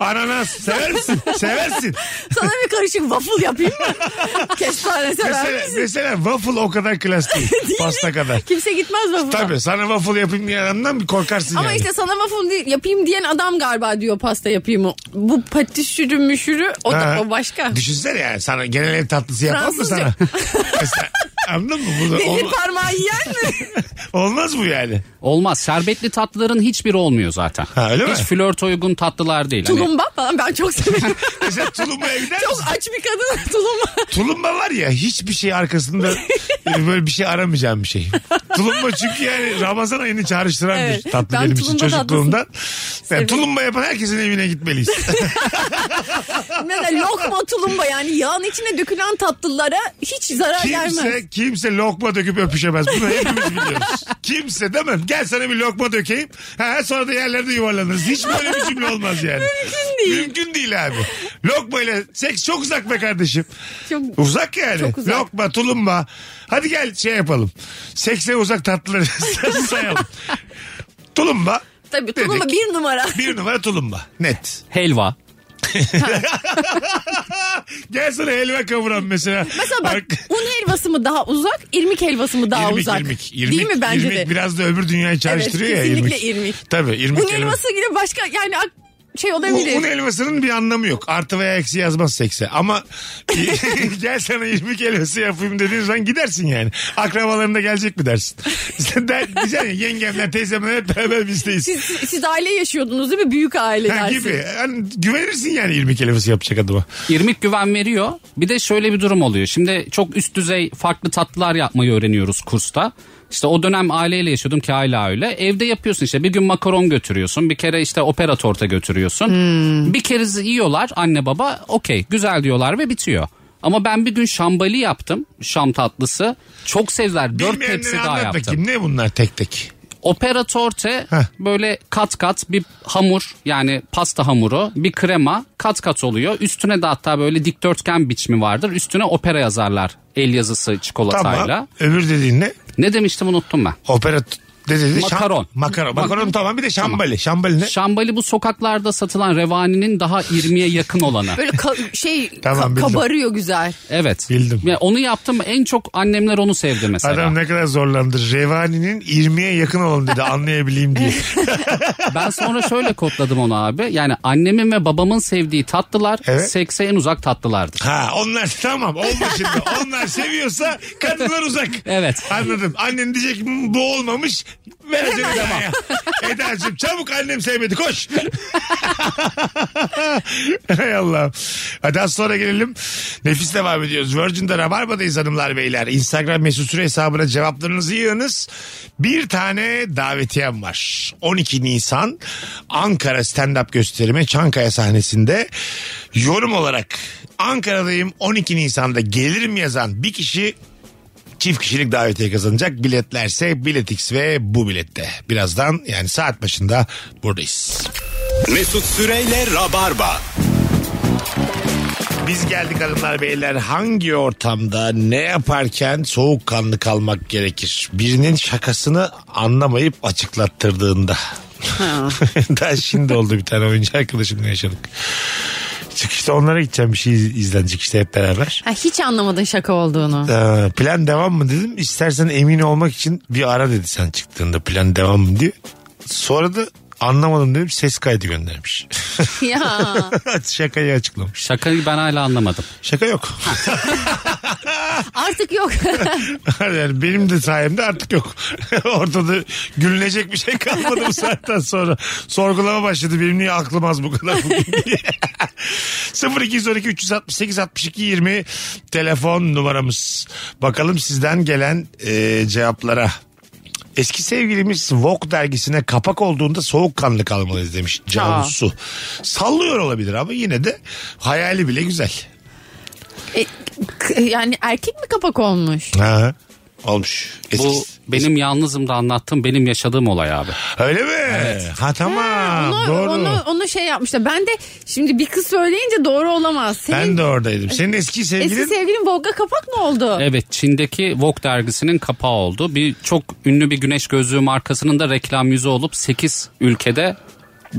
[SPEAKER 3] ananas sever misin? Seversin.
[SPEAKER 4] sana bir karışık waffle yapayım mı? Kestane sever
[SPEAKER 3] Mesela,
[SPEAKER 4] misin?
[SPEAKER 3] mesela waffle o kadar klas değil. pasta kadar.
[SPEAKER 4] Kimse gitmez waffle'a.
[SPEAKER 3] Tabii sana waffle yapayım diye adamdan bir korkarsın
[SPEAKER 4] Ama
[SPEAKER 3] yani.
[SPEAKER 4] işte sana waffle değil, yapayım diyen adam galiba diyor pasta yapayım mı? Bu patişürü müşürü o, da,
[SPEAKER 3] Ha.
[SPEAKER 4] o başka.
[SPEAKER 3] Düşünsene yani sana genel ev tatlısı yapan mı
[SPEAKER 4] Fransızca.
[SPEAKER 3] sana? Mesela, anladın mı? Bunu,
[SPEAKER 4] Demir
[SPEAKER 3] ol-
[SPEAKER 4] parmağı yiyen mi?
[SPEAKER 3] olmaz bu yani.
[SPEAKER 5] Olmaz. Şerbetli tatlıların hiçbiri olmuyor zaten.
[SPEAKER 3] Ha, öyle mi?
[SPEAKER 5] Hiç flört uygun tatlılar değil. Hani
[SPEAKER 4] Tulumba falan ben çok severim.
[SPEAKER 3] Mesela tulumbaya gider
[SPEAKER 4] çok
[SPEAKER 3] misin?
[SPEAKER 4] aç bir kadın tulumba.
[SPEAKER 3] Tulumba var ya hiçbir şey arkasında böyle bir şey aramayacağım bir şey. Tulumba çünkü yani Ramazan ayını çağrıştıran bir
[SPEAKER 4] Evet.
[SPEAKER 3] tatlı
[SPEAKER 4] Ben
[SPEAKER 3] benim için
[SPEAKER 4] tulumba tatlısını
[SPEAKER 3] çocukluğumdan. Yani
[SPEAKER 4] seviyorum.
[SPEAKER 3] tulumba yapan herkesin evine gitmeliyiz.
[SPEAKER 4] Mesela lokma tulumba yani yağın içine dökülen tatlılara hiç zarar gelmez.
[SPEAKER 3] kimse kimse lokma döküp öpüşemez. Bunu hepimiz biliyoruz. Kimse değil mi? Gel sana bir lokma dökeyim. Ha, sonra da yerlerde yuvarlanırız. Hiç böyle bir cümle olmaz yani. Mümkün
[SPEAKER 4] değil.
[SPEAKER 3] Mümkün değil abi. Lokma ile seks çok uzak be kardeşim.
[SPEAKER 4] Çok-
[SPEAKER 3] uzak yani.
[SPEAKER 4] çok uzak.
[SPEAKER 3] Lokma, tulumba. Hadi gel şey yapalım. Sekse uzak tatlıları sayalım. Tulumba.
[SPEAKER 4] Tabii tulumba
[SPEAKER 3] Dedik.
[SPEAKER 4] bir numara.
[SPEAKER 3] Bir numara tulumba. Net.
[SPEAKER 5] helva.
[SPEAKER 3] Gel sana helva kavuran mesela.
[SPEAKER 4] Mesela bak
[SPEAKER 3] Ark-
[SPEAKER 4] un helvası mı daha uzak, irmik helvası mı daha
[SPEAKER 3] irmik,
[SPEAKER 4] uzak?
[SPEAKER 3] irmik,
[SPEAKER 4] Değil mi bence
[SPEAKER 3] irmik
[SPEAKER 4] de?
[SPEAKER 3] biraz da öbür dünyayı çağrıştırıyor ya irmik.
[SPEAKER 4] kesinlikle irmik.
[SPEAKER 3] Tabii irmik.
[SPEAKER 4] Un
[SPEAKER 3] helva-
[SPEAKER 4] helvası yine başka yani ak- şey
[SPEAKER 3] Un, un
[SPEAKER 4] olabilir.
[SPEAKER 3] helvasının bir anlamı yok. Artı veya eksi yazmaz sekse. Ama gel sana irmik helvası yapayım dediğin zaman gidersin yani. Akrabaların da gelecek mi dersin? Sen der, diyeceksin ya, yengemler teyzemler hep beraber bizdeyiz.
[SPEAKER 4] Siz, siz aile yaşıyordunuz değil mi? Büyük aile
[SPEAKER 3] Ha,
[SPEAKER 4] dersin.
[SPEAKER 3] gibi. Yani güvenirsin yani irmik helvası yapacak adama.
[SPEAKER 5] İrmik güven veriyor. Bir de şöyle bir durum oluyor. Şimdi çok üst düzey farklı tatlılar yapmayı öğreniyoruz kursta. İşte o dönem aileyle yaşıyordum ki hala öyle. Evde yapıyorsun işte bir gün makaron götürüyorsun. Bir kere işte opera torta götürüyorsun. Bir kere yiyorlar anne baba okey güzel diyorlar ve bitiyor. Ama ben bir gün şambali yaptım. Şam tatlısı. Çok sevdiler. Dört tepsi
[SPEAKER 3] Bilmeyenlere
[SPEAKER 5] daha
[SPEAKER 3] anlat
[SPEAKER 5] yaptım.
[SPEAKER 3] bakayım. Ne bunlar tek tek?
[SPEAKER 5] Opera torte
[SPEAKER 3] Heh.
[SPEAKER 5] böyle kat kat bir hamur yani pasta hamuru bir krema kat kat oluyor. Üstüne de hatta böyle dikdörtgen biçimi vardır. Üstüne opera yazarlar el yazısı çikolatayla.
[SPEAKER 3] Tamam. Öbür dediğin ne?
[SPEAKER 5] Ne demiştim unuttum ben.
[SPEAKER 3] Opera t- Ne dedi? Şam-
[SPEAKER 5] Makaron.
[SPEAKER 3] makaron. Makaron tamam bir de şambali. Şambali ne?
[SPEAKER 5] Şambali bu sokaklarda satılan revaninin daha irmiye yakın olanı.
[SPEAKER 4] Böyle ka- şey
[SPEAKER 3] Tamam,
[SPEAKER 4] ka-
[SPEAKER 3] bildim.
[SPEAKER 4] kabarıyor güzel.
[SPEAKER 5] Evet.
[SPEAKER 3] Bildim.
[SPEAKER 5] Ya onu yaptım en çok annemler onu sevdi mesela.
[SPEAKER 3] Adam ne kadar zorlandı. Revani'nin 20'ye yakın olun dedi anlayabileyim diye.
[SPEAKER 5] Ben sonra şöyle kodladım onu abi. Yani annemin ve babamın sevdiği tatlılar
[SPEAKER 3] Evet.
[SPEAKER 5] sekse en uzak tatlılardır.
[SPEAKER 3] Ha onlar tamam olma şimdi. Onlar seviyorsa kadınlar uzak.
[SPEAKER 5] Evet.
[SPEAKER 3] Anladım. Annen diyecek "Hmm, bu olmamış. Vereceğim Eda'ya. Eda'cığım çabuk annem sevmedi koş. Hay Allah. Hadi az sonra gelelim. Nefis devam ediyoruz. Virgin'de Rabarba'dayız hanımlar beyler. Instagram mesut süre hesabına cevaplarınızı yığınız. Bir tane davetiyem var. 12 Nisan Ankara stand-up gösterimi Çankaya sahnesinde yorum olarak Ankara'dayım 12 Nisan'da gelirim yazan bir kişi çift kişilik davetiye kazanacak. Biletlerse Biletix ve bu bilette. Birazdan yani saat başında buradayız.
[SPEAKER 2] Mesut Süreyle Rabarba.
[SPEAKER 3] Biz geldik hanımlar beyler hangi ortamda ne yaparken soğukkanlı kalmak gerekir? Birinin şakasını anlamayıp açıklattırdığında. Daha şimdi oldu bir tane oyuncu arkadaşımla yaşadık. Çıkışta onlara gideceğim bir şey iz- izlenecek işte hep beraber.
[SPEAKER 4] Ha, hiç anlamadın şaka olduğunu.
[SPEAKER 3] Ee, plan devam mı dedim. İstersen emin olmak için bir ara dedi sen çıktığında plan devam mı diye. Sonra da anlamadım dedim ses kaydı göndermiş.
[SPEAKER 4] ya.
[SPEAKER 3] Şakayı açıklamış.
[SPEAKER 5] Şakayı ben hala anlamadım.
[SPEAKER 3] Şaka yok.
[SPEAKER 4] Artık yok.
[SPEAKER 3] Yani benim de sayemde artık yok. Ortada gülünecek bir şey kalmadı bu saatten sonra. Sorgulama başladı benim niye aklım az bu kadar bugün diye. 0212 368 62 20 telefon numaramız. Bakalım sizden gelen e, cevaplara. Eski sevgilimiz Vogue dergisine kapak olduğunda soğukkanlı kalmalıyız demiş Cansu. Sallıyor olabilir ama yine de hayali bile güzel.
[SPEAKER 4] E, k- yani erkek mi kapak olmuş?
[SPEAKER 3] Ha. Olmuş.
[SPEAKER 5] Bu
[SPEAKER 3] Eskisi-
[SPEAKER 5] benim yalnızım da anlattığım benim yaşadığım olay abi.
[SPEAKER 3] Öyle mi? Ha tamam.
[SPEAKER 4] onu,
[SPEAKER 3] doğru.
[SPEAKER 4] onu, onu şey yapmışlar. Ben de şimdi bir kız söyleyince doğru olamaz.
[SPEAKER 3] Ben
[SPEAKER 4] Senin
[SPEAKER 3] de oradaydım. Senin eski sevgilin
[SPEAKER 4] eski sevgilin Volga kapak mı oldu?
[SPEAKER 5] Evet Çin'deki Vogue dergisinin kapağı oldu. Bir çok ünlü bir güneş gözlüğü markasının da reklam yüzü olup 8 ülkede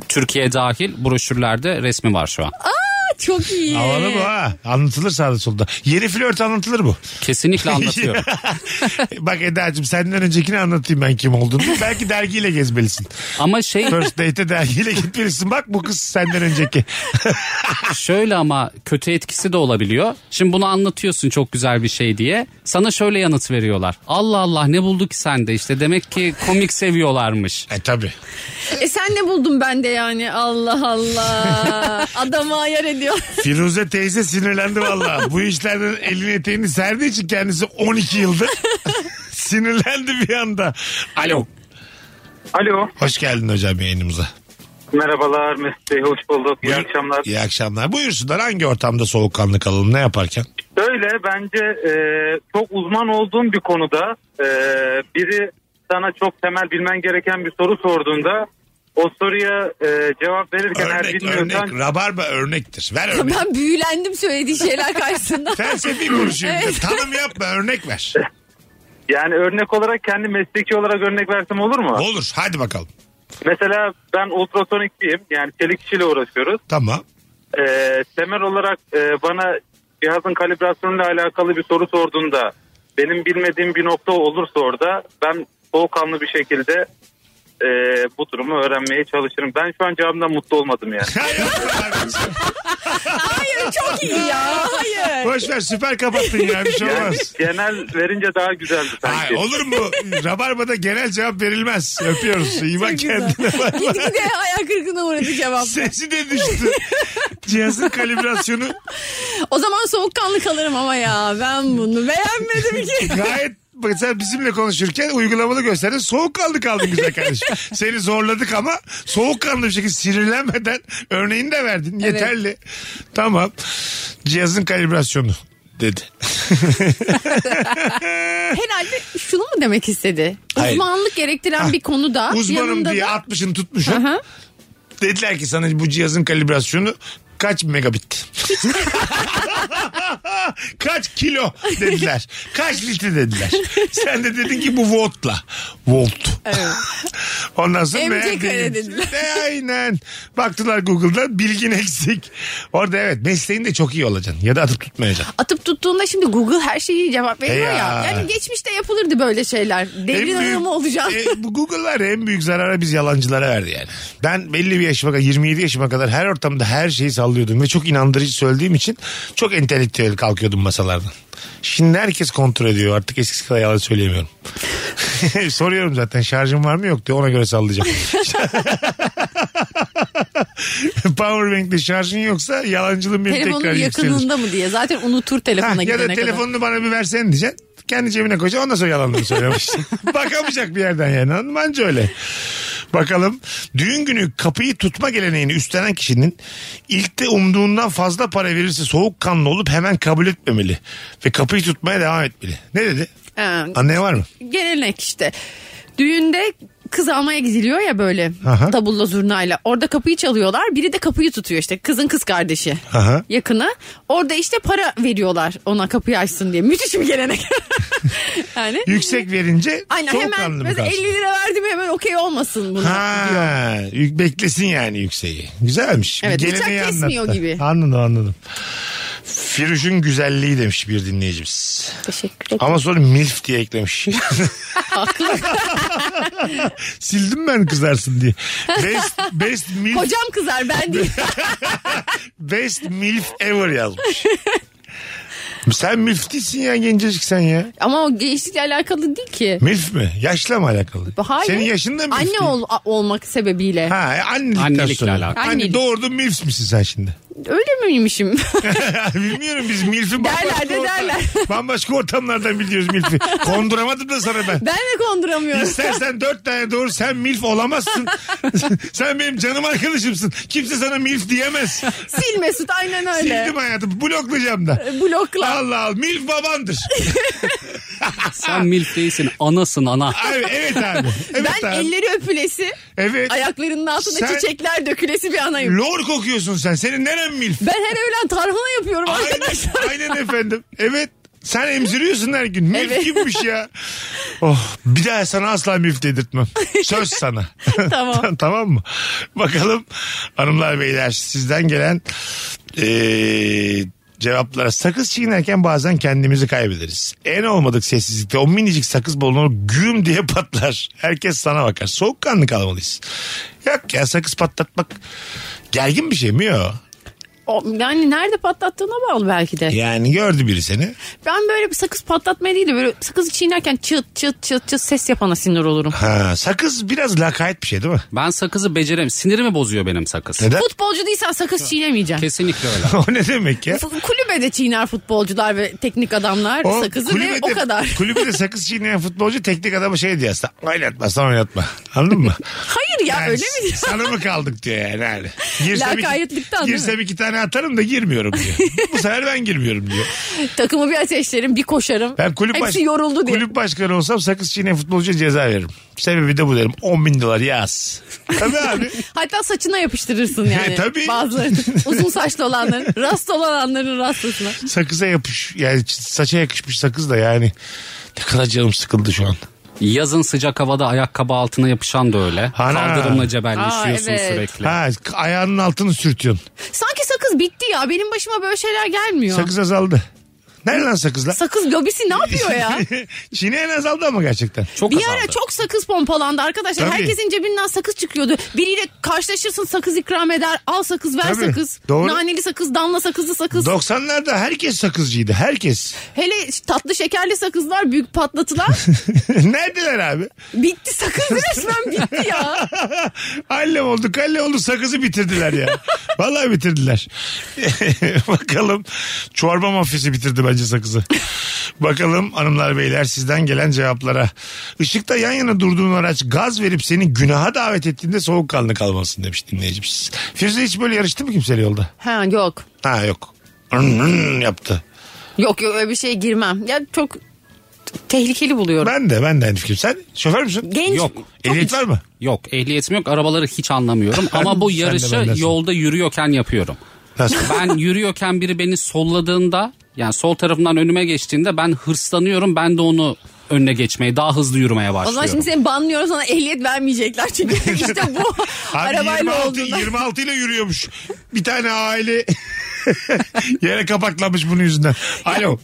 [SPEAKER 5] Türkiye dahil broşürlerde resmi var şu an.
[SPEAKER 4] Çok iyi.
[SPEAKER 3] Havalı bu ha. Anlatılır sağda solda. Yeni flört anlatılır bu.
[SPEAKER 5] Kesinlikle anlatıyorum.
[SPEAKER 3] Bak Eda'cığım senden öncekini anlatayım ben kim olduğunu. Belki dergiyle gezmelisin.
[SPEAKER 5] Ama şey
[SPEAKER 3] First date'e dergiyle gitmelisin. Bak bu kız senden önceki.
[SPEAKER 5] Şöyle ama kötü etkisi de olabiliyor. Şimdi bunu anlatıyorsun çok güzel bir şey diye. Sana şöyle yanıt veriyorlar. Allah Allah ne bulduk sende işte demek ki komik seviyorlarmış.
[SPEAKER 3] e tabi.
[SPEAKER 4] E sen ne buldun bende yani? Allah Allah. Adamı ayar ediyor.
[SPEAKER 3] Firuze teyze sinirlendi valla. Bu işlerden elini eteğini serdiği için kendisi 12 yıldır sinirlendi bir anda. Alo.
[SPEAKER 6] Alo.
[SPEAKER 3] Hoş geldin hocam yayınımıza.
[SPEAKER 6] Merhabalar Mesut Bey. Hoş bulduk. İyi
[SPEAKER 3] Buyur-
[SPEAKER 6] akşamlar.
[SPEAKER 3] İyi akşamlar. Buyursunlar hangi ortamda soğukkanlı kalalım ne yaparken?
[SPEAKER 6] Öyle bence e, çok uzman olduğum bir konuda e, biri sana çok temel bilmen gereken bir soru sorduğunda o soruya e, cevap verirken her
[SPEAKER 3] Örnek,
[SPEAKER 6] bilmiyorsan
[SPEAKER 3] örnek. Rabarba örnektir. Ver örnek.
[SPEAKER 4] Ben büyülendim söylediği şeyler karşısında.
[SPEAKER 3] Felsefi konuşuyor. bir de. Tanım yapma örnek ver.
[SPEAKER 6] yani örnek olarak kendi mesleki olarak örnek versem olur mu?
[SPEAKER 3] Olur hadi bakalım.
[SPEAKER 6] Mesela ben ultrasonikçiyim yani çelik işiyle uğraşıyoruz.
[SPEAKER 3] Tamam.
[SPEAKER 6] E, temel olarak e, bana cihazın kalibrasyonuyla alakalı bir soru sorduğunda benim bilmediğim bir nokta olursa orada ben soğukkanlı bir şekilde e, bu durumu öğrenmeye çalışırım. Ben şu an cevabımdan mutlu olmadım yani.
[SPEAKER 3] Hay Allah kardeşim.
[SPEAKER 4] Hayır çok iyi ya. Hayır.
[SPEAKER 3] Boş ver süper kapattın ya bir şey
[SPEAKER 6] Yani
[SPEAKER 3] olmaz.
[SPEAKER 6] genel verince daha güzeldi
[SPEAKER 3] Ay,
[SPEAKER 6] sanki.
[SPEAKER 3] olur mu? Rabarba'da genel cevap verilmez. Öpüyoruz. İyi bak kendine. Bay bay.
[SPEAKER 4] Gitgide ayak kırıklığına uğradı cevap.
[SPEAKER 3] Sesi de düştü. Cihazın kalibrasyonu
[SPEAKER 4] O zaman soğukkanlı kalırım ama ya ben bunu beğenmedim ki.
[SPEAKER 3] gayet Mesela bizimle konuşurken uygulamalı gösterdin. Soğukkanlı kaldın güzel kardeşim. Seni zorladık ama soğukkanlı bir şekilde sinirlenmeden örneğini de verdin. Yeterli. Tamam. Cihazın kalibrasyonu dedi.
[SPEAKER 4] Herhalde şunu mu demek istedi?
[SPEAKER 3] Hayır.
[SPEAKER 4] Uzmanlık gerektiren bir konuda
[SPEAKER 3] Uzmanım
[SPEAKER 4] yanında
[SPEAKER 3] diye
[SPEAKER 4] da
[SPEAKER 3] 60'ını tutmuşum.
[SPEAKER 4] Aha.
[SPEAKER 3] Dediler ki sana bu cihazın kalibrasyonu kaç megabit? Kaç kilo dediler. Kaç litre dediler. Sen de dedin ki bu voltla. Volt. Ondan sonra
[SPEAKER 4] MC
[SPEAKER 3] meğer
[SPEAKER 4] kare
[SPEAKER 3] değilmiş.
[SPEAKER 4] dediler.
[SPEAKER 3] E, aynen. Baktılar Google'dan bilgin eksik. Orada evet mesleğin de çok iyi olacaksın. Ya da atıp tutmayacaksın.
[SPEAKER 4] Atıp tuttuğunda şimdi Google her şeyi cevap veriyor
[SPEAKER 3] Ya.
[SPEAKER 4] ya. Yani geçmişte yapılırdı böyle şeyler. Devrin
[SPEAKER 3] En büyük-
[SPEAKER 4] adamı olacağım.
[SPEAKER 3] E, bu Google var ya, en büyük zarara biz yalancılara verdi yani. Ben belli bir yaşıma kadar 27 yaşıma kadar her ortamda her şeyi sallıyordum ve çok inandırıcı söylediğim için çok entelektüel kalkıyordum masalardan. Şimdi herkes kontrol ediyor artık eskisi kadar yalan söyleyemiyorum. Soruyorum zaten şarjım var mı yok diyor ona göre sallayacağım. Powerbank'te şarjın yoksa yalancılığın beni
[SPEAKER 4] Telefonun
[SPEAKER 3] tekrar yükselir.
[SPEAKER 4] yakınında mı diye. Zaten unutur
[SPEAKER 3] Ha,
[SPEAKER 4] telefona
[SPEAKER 3] ya
[SPEAKER 4] gidene
[SPEAKER 3] da
[SPEAKER 4] kadar.
[SPEAKER 3] telefonunu bana bir versene diyeceksin. Kendi cebine koyacaksın ondan sonra yalanını söylemiştin. Bakamayacak bir yerden yani anladın mı? Anca öyle. Bakalım düğün günü kapıyı tutma geleneğini üstlenen kişinin ilkte umduğundan fazla para verirse soğukkanlı olup hemen kabul etmemeli. Ve kapıyı tutmaya devam etmeli. Ne dedi?
[SPEAKER 4] Ha,
[SPEAKER 3] Anlayan var mı?
[SPEAKER 4] gelenek işte. Düğünde kız almaya gidiliyor ya böyle
[SPEAKER 3] Aha.
[SPEAKER 4] davulla zurnayla. Orada kapıyı çalıyorlar. Biri de kapıyı tutuyor işte. Kızın kız kardeşi.
[SPEAKER 3] Aha.
[SPEAKER 4] Yakını. Orada işte para veriyorlar ona kapıyı açsın diye. Müthiş bir gelenek. yani.
[SPEAKER 3] Yüksek verince
[SPEAKER 4] Aynen hemen
[SPEAKER 3] soğukkanlı mı
[SPEAKER 4] mesela
[SPEAKER 3] kalsın?
[SPEAKER 4] 50 lira verdim hemen okey olmasın buna.
[SPEAKER 3] Ha, yük- beklesin yani yükseği. Güzelmiş. Bir
[SPEAKER 4] Evet, bıçak
[SPEAKER 3] geleneği
[SPEAKER 4] kesmiyor
[SPEAKER 3] anlattı.
[SPEAKER 4] gibi.
[SPEAKER 3] Anladım anladım. Firuş'un güzelliği demiş bir dinleyicimiz.
[SPEAKER 4] Teşekkür ederim.
[SPEAKER 3] Ama sonra milf diye eklemiş. Sildim ben kızarsın diye. Best, best milf,
[SPEAKER 4] Kocam kızar ben değil.
[SPEAKER 3] best milf ever yazmış. Sen milf değilsin ya gencecik sen ya.
[SPEAKER 4] Ama o gençlikle alakalı değil ki.
[SPEAKER 3] Milf mi? Yaşla mı alakalı?
[SPEAKER 4] Hayır.
[SPEAKER 3] Senin yaşında mı milf
[SPEAKER 4] Anne
[SPEAKER 3] değil?
[SPEAKER 4] ol, a- olmak sebebiyle.
[SPEAKER 3] Ha, e, annelikten
[SPEAKER 5] Annelikle
[SPEAKER 3] sonra.
[SPEAKER 5] alakalı.
[SPEAKER 3] Anne
[SPEAKER 4] Annelik.
[SPEAKER 3] doğurdun milf misin sen şimdi?
[SPEAKER 4] Öyle miymişim?
[SPEAKER 3] Bilmiyorum biz milfi
[SPEAKER 4] Derler
[SPEAKER 3] bambaşka,
[SPEAKER 4] de derler.
[SPEAKER 3] bambaşka ortamlardan biliyoruz milfi. Konduramadım da sana ben.
[SPEAKER 4] ben de konduramıyorum.
[SPEAKER 3] İstersen dört tane doğru sen milf olamazsın. sen benim canım arkadaşımsın. Kimse sana milf diyemez.
[SPEAKER 4] Sil Mesut aynen öyle.
[SPEAKER 3] Sildim hayatım bloklayacağım da.
[SPEAKER 4] Blokla.
[SPEAKER 3] Allah Allah milf babandır.
[SPEAKER 5] Sen milf değilsin anasın ana.
[SPEAKER 3] Abi, evet abi. Evet
[SPEAKER 4] ben
[SPEAKER 3] abi.
[SPEAKER 4] elleri öpülesi,
[SPEAKER 3] Evet.
[SPEAKER 4] ayaklarının altında
[SPEAKER 3] Sen-
[SPEAKER 4] çiçekler dökülesi bir anayım.
[SPEAKER 3] Lor kokuyorsun sen. Senin neren milf?
[SPEAKER 4] Ben her öğlen tarhana yapıyorum arkadaşlar.
[SPEAKER 3] Aynen, aynen efendim. Evet. Sen emziriyorsun her gün. Milf
[SPEAKER 4] Evet.
[SPEAKER 3] gibiymiş ya. Oh, bir daha sana asla milf dedirtmem. Söz sana.
[SPEAKER 4] Tamam.
[SPEAKER 3] tamam mı? Bakalım hanımlar beyler sizden gelen eee, cevaplara. Sakız çiğnerken bazen kendimizi kaybederiz. En olmadık sessizlikte o minicik sakız balonu güm diye patlar. Herkes sana bakar. Soğukkanlı kalmalıyız. Yok ya sakız patlatmak gergin bir şey mi yok?
[SPEAKER 4] O- Yani nerede patlattığına bağlı belki de.
[SPEAKER 3] Yani gördü biri seni.
[SPEAKER 4] Ben böyle bir sakız patlatmaya değil de böyle sakızı çiğnerken çıt çıt çıt çıt ses yapana sinir olurum.
[SPEAKER 3] Ha, sakız biraz lakayt bir şey değil mi?
[SPEAKER 5] Ben sakızı becerem. Sinirimi bozuyor benim sakız.
[SPEAKER 3] Neden?
[SPEAKER 4] Futbolcu değilsen sakız çiğnemeyeceksin.
[SPEAKER 5] Kesinlikle öyle.
[SPEAKER 3] o ne demek ya?
[SPEAKER 4] F- Kulübede çiğner futbolcular ve teknik adamlar
[SPEAKER 3] O
[SPEAKER 4] sakızı ve o kadar.
[SPEAKER 3] Kulübede sakız çiğneyen futbolcu teknik adamı şey diyor aslında. Oynatma sen oynatma. Anladın mı?
[SPEAKER 4] Hayır ya
[SPEAKER 3] Yani
[SPEAKER 4] öyle mi diyor?
[SPEAKER 3] Sana mı kaldık diyor yani. yani. Girsem, iki,
[SPEAKER 4] Lakaytlıktan değil
[SPEAKER 3] girsem
[SPEAKER 4] mi?
[SPEAKER 3] iki tane atarım da girmiyorum diyor. Bu sefer ben girmiyorum diyor.
[SPEAKER 4] Takımı bir ateşlerim bir koşarım.
[SPEAKER 3] Ben kulüp
[SPEAKER 4] Hepsi
[SPEAKER 3] baş-
[SPEAKER 4] yoruldu diye.
[SPEAKER 3] Kulüp başkanı olsam sakız çiğneyen futbolcuya ceza veririm. Sebebi de bu derim. 10 bin dolar yaz. Tabii abi.
[SPEAKER 4] Hatta saçına yapıştırırsın yani.
[SPEAKER 3] E, tabii.
[SPEAKER 4] Bazıları uzun saçlı olanların, rast olanların rastasına.
[SPEAKER 3] Sakıza yapış. Yani saça yakışmış sakız da yani. Ne kadar canım sıkıldı şu an.
[SPEAKER 5] Yazın sıcak havada ayakkabı altına yapışan da öyle.
[SPEAKER 3] Ana.
[SPEAKER 5] Kaldırımla cebelleşiyorsun
[SPEAKER 4] Aa, evet.
[SPEAKER 5] sürekli.
[SPEAKER 3] Ha, ayağının altını sürtüyorsun.
[SPEAKER 4] Sanki sakız bitti ya. Benim başıma böyle şeyler gelmiyor. Sakız,
[SPEAKER 3] Sakız azaldı. Nerede lan sakızlar?
[SPEAKER 4] lobisi ne yapıyor ya?
[SPEAKER 3] Çiğneyen azaldı ama gerçekten.
[SPEAKER 5] Çok
[SPEAKER 4] bir
[SPEAKER 5] azaldı.
[SPEAKER 4] ara çok sakız pompalandı arkadaşlar.
[SPEAKER 3] Tabii.
[SPEAKER 4] Herkesin cebinden sakız çıkıyordu. Biriyle karşılaşırsın sakız ikram eder. Al sakız ver
[SPEAKER 3] Tabii.
[SPEAKER 4] sakız.
[SPEAKER 3] Doğru.
[SPEAKER 4] Naneli sakız, damla sakızlı sakız.
[SPEAKER 3] 90'larda herkes sakızcıydı. Herkes.
[SPEAKER 4] Hele tatlı şekerli sakızlar büyük patlatılar.
[SPEAKER 3] Neredeler abi?
[SPEAKER 4] bitti sakız resmen bitti ya.
[SPEAKER 3] Halle oldu, kalle oldu sakızı bitirdiler ya. Vallahi bitirdiler. Bakalım çorba mafyası bitirdi bence sakızı. Bakalım hanımlar beyler sizden gelen cevaplara. Işıkta yan yana durduğun araç gaz verip seni günaha davet ettiğinde soğukkanlı kalmalısın demiş dinleyicimiz. Firuze hiç böyle yarıştı mı kimseyle yolda?
[SPEAKER 4] Ha yok.
[SPEAKER 3] Ha yok. Hırn hırn yaptı.
[SPEAKER 4] Yok yok öyle bir şeye girmem. Ya çok t- tehlikeli buluyorum.
[SPEAKER 3] Ben de ben de aynı fikrim. Sen şoför müsün?
[SPEAKER 4] Genç.
[SPEAKER 5] Yok.
[SPEAKER 3] Ehliyet var mı?
[SPEAKER 5] Yok ehliyetim yok arabaları hiç anlamıyorum ama bu
[SPEAKER 3] Sen de
[SPEAKER 5] yarışı
[SPEAKER 3] bendensin.
[SPEAKER 5] yolda yürüyorken yapıyorum.
[SPEAKER 3] Nasıl?
[SPEAKER 5] Ben yürüyorken biri beni solladığında Yani sol tarafından önüme geçtiğinde ben hırslanıyorum. Ben de onu önüne geçmeye, daha hızlı yürümeye
[SPEAKER 4] O zaman
[SPEAKER 5] başlıyorum.
[SPEAKER 4] şimdi seni banlıyoruz sana ehliyet vermeyecekler çünkü işte bu
[SPEAKER 3] Abi
[SPEAKER 4] arabayla
[SPEAKER 3] 26,
[SPEAKER 4] olduğunda.
[SPEAKER 3] 26 ile yürüyormuş. Bir tane aile yere kapaklanmış bunun yüzünden. Alo.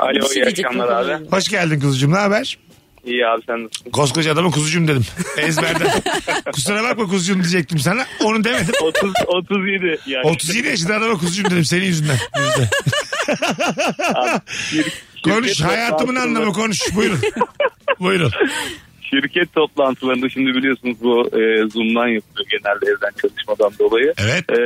[SPEAKER 6] Alo,
[SPEAKER 4] Bir şey
[SPEAKER 6] iyi
[SPEAKER 4] diyecektim.
[SPEAKER 6] akşamlar abi.
[SPEAKER 3] Hoş geldin kuzucuğum ne haber?
[SPEAKER 6] İyi abi sen nasılsın?
[SPEAKER 3] Koskoca adama kuzucuğum dedim. Ezberden. Kusura bakma kuzucuğum diyecektim sana. Onu demedim.
[SPEAKER 6] 30, 37 yani.
[SPEAKER 3] 37 yaşında adama kuzucuğum dedim senin yüzünden. Yüzde. konuş hayatımın anlamı konuş. Buyurun. Buyurun.
[SPEAKER 6] Şirket toplantılarında şimdi biliyorsunuz bu e, Zoom'dan yapılıyor genelde evden çalışmadan dolayı.
[SPEAKER 3] Evet.
[SPEAKER 6] E,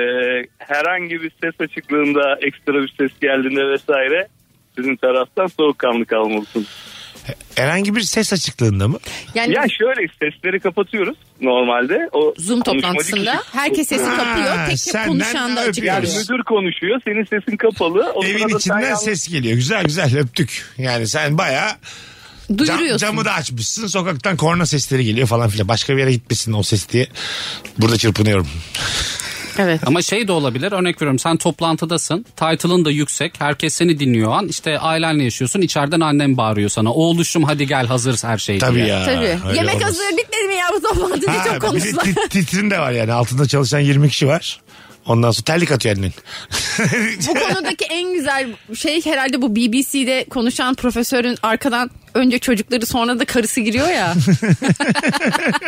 [SPEAKER 6] herhangi bir ses açıklığında ekstra bir ses geldiğinde vesaire sizin taraftan soğukkanlı kalmalısınız.
[SPEAKER 3] Herhangi bir ses açıklığında mı?
[SPEAKER 4] Yani
[SPEAKER 6] Ya şöyle sesleri kapatıyoruz normalde. O
[SPEAKER 4] Zoom
[SPEAKER 6] konuşmacı
[SPEAKER 4] toplantısında
[SPEAKER 6] kişi-
[SPEAKER 4] herkes sesi
[SPEAKER 3] Ha,
[SPEAKER 4] kapıyor. Tek tek
[SPEAKER 3] senden
[SPEAKER 4] konuşan da
[SPEAKER 3] ne
[SPEAKER 4] açık
[SPEAKER 6] Yani
[SPEAKER 3] öpüyoruz?
[SPEAKER 4] kalıyor.
[SPEAKER 6] müdür konuşuyor senin sesin kapalı. O
[SPEAKER 3] Evin
[SPEAKER 6] sırada sen
[SPEAKER 3] içinden
[SPEAKER 6] yalnız-
[SPEAKER 3] ses geliyor. Güzel güzel öptük. Yani sen bayağı Cam-
[SPEAKER 4] Duyuruyorsun.
[SPEAKER 3] camı da açmışsın. Sokaktan korna sesleri geliyor falan filan. Başka bir yere gitmesin o ses diye. Burada çırpınıyorum.
[SPEAKER 4] Evet.
[SPEAKER 5] Ama şey de olabilir örnek veriyorum sen toplantıdasın title'ın da yüksek herkes seni dinliyor o an işte ailenle yaşıyorsun içeriden annem bağırıyor sana oğluşum hadi gel hazır her şey
[SPEAKER 3] Tabii
[SPEAKER 5] diye.
[SPEAKER 3] ya.
[SPEAKER 4] Tabii.
[SPEAKER 3] öyle
[SPEAKER 4] Yemek
[SPEAKER 3] olmaz.
[SPEAKER 4] hazır bitmedi mi ya bu toplantı diye
[SPEAKER 3] Ha,
[SPEAKER 4] çok
[SPEAKER 3] bir de
[SPEAKER 4] konuştular.
[SPEAKER 3] tit- titrin de var yani. Altında çalışan 20 kişi var. Ondan sonra terlik atıyor annen.
[SPEAKER 4] bu konudaki en güzel şey herhalde bu BBC'de konuşan profesörün arkadan önce çocukları sonra da karısı giriyor ya.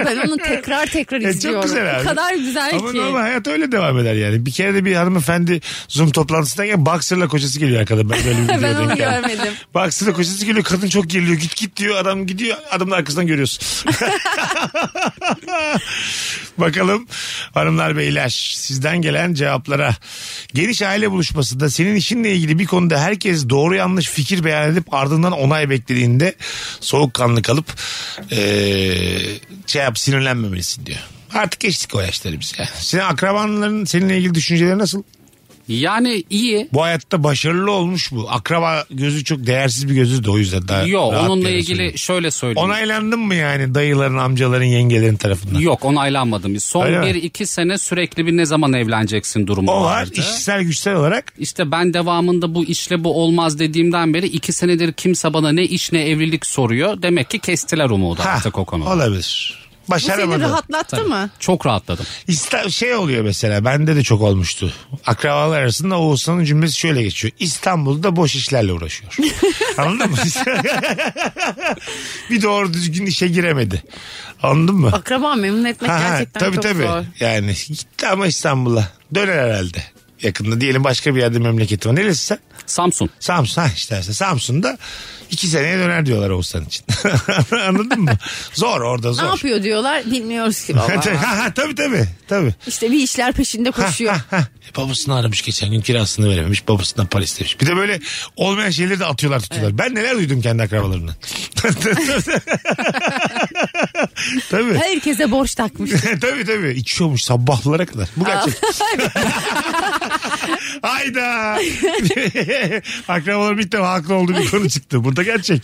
[SPEAKER 4] ben onu tekrar tekrar
[SPEAKER 3] E,
[SPEAKER 4] izliyorum.
[SPEAKER 3] çok güzel
[SPEAKER 4] O
[SPEAKER 3] abi.
[SPEAKER 4] kadar güzel
[SPEAKER 3] Ama
[SPEAKER 4] ki.
[SPEAKER 3] normal hayat öyle devam eder yani. Bir kere de bir hanımefendi Zoom toplantısındayken boxer'la kocası geliyor arkadan. Ben böyle bir
[SPEAKER 4] Ben
[SPEAKER 3] videoya
[SPEAKER 4] onu
[SPEAKER 3] denk geldim.
[SPEAKER 4] görmedim.
[SPEAKER 3] Boxer'la kocası geliyor. Kadın çok geriliyor. Git git diyor. Adam gidiyor. Adamın arkasından görüyorsun. Bakalım hanımlar beyler sizden gelen cevaplara. Geniş aile buluşmasında senin işinle ilgili bir konuda herkes doğru yanlış fikir beyan edip ardından onay beklediğinde soğukkanlı kalıp eee şey yap sinirlenmemelisin diyor. Artık geçtik o yaşları biz ya. Senin akrabanların seninle ilgili düşünceleri nasıl?
[SPEAKER 5] Yani iyi
[SPEAKER 3] Bu hayatta başarılı olmuş bu. Akraba gözü çok değersiz bir gözü de o yüzden daha
[SPEAKER 5] yok
[SPEAKER 3] rahat
[SPEAKER 5] onunla
[SPEAKER 3] yere
[SPEAKER 5] ilgili
[SPEAKER 3] söylüyorum.
[SPEAKER 5] şöyle söyleyeyim.
[SPEAKER 3] Onaylandın mı yani dayıların, amcaların, yengelerin tarafından?
[SPEAKER 5] Yok onaylanmadım. Son
[SPEAKER 3] Öyle mi?
[SPEAKER 5] 1-2 sene sürekli bir ne zaman evleneceksin durumu
[SPEAKER 3] O var.
[SPEAKER 5] vardı.
[SPEAKER 3] İşsel güçsel olarak
[SPEAKER 5] İşte ben devamında bu işle bu olmaz dediğimden beri iki senedir kimse bana ne iş ne evlilik soruyor. Demek ki kestiler umudu
[SPEAKER 3] Ha,
[SPEAKER 5] artık o konuda.
[SPEAKER 3] Olabilir.
[SPEAKER 4] Bu seni
[SPEAKER 3] Başaramadı.
[SPEAKER 4] rahatlattı mı?
[SPEAKER 5] Çok rahatladım.
[SPEAKER 3] İsta- şey oluyor mesela bende de çok olmuştu. Akrabalar arasında Oğuzhan'ın cümlesi şöyle geçiyor. İstanbul'da boş işlerle uğraşıyor. Anladın mı? bir doğru düzgün işe giremedi. Anladın mı?
[SPEAKER 4] Akraba memnun etmek
[SPEAKER 3] Ha, ha,
[SPEAKER 4] gerçekten
[SPEAKER 3] tabii
[SPEAKER 4] çok
[SPEAKER 3] tabii.
[SPEAKER 4] zor.
[SPEAKER 3] Yani gitti ama İstanbul'a. Döner herhalde. Yakında diyelim başka bir yerde memleketi var. Neresi sen?
[SPEAKER 5] Samsun.
[SPEAKER 3] Samsun ha işte mesela Samsun'da iki seneye döner diyorlar Oğuzhan için. Anladın mı? Zor orada zor.
[SPEAKER 4] Ne yapıyor diyorlar bilmiyoruz ki
[SPEAKER 3] Ha,
[SPEAKER 4] baba.
[SPEAKER 3] tabii, ha, ha, tabii tabii. tabii.
[SPEAKER 4] işte bir işler peşinde koşuyor.
[SPEAKER 3] Ha, ha. E, babasını aramış geçen gün kirasını verememiş. Babasından para istemiş. Bir de böyle olmayan şeyleri de atıyorlar tutuyorlar. Ben neler duydum kendi akrabalarımdan. tabii.
[SPEAKER 4] Herkese borç takmış.
[SPEAKER 3] tabii tabii. İçiyormuş sabahlara kadar. Bu gerçek. Hayda. Akrabalarım ilk defa haklı olduğu bir konu çıktı. Burada gerçek.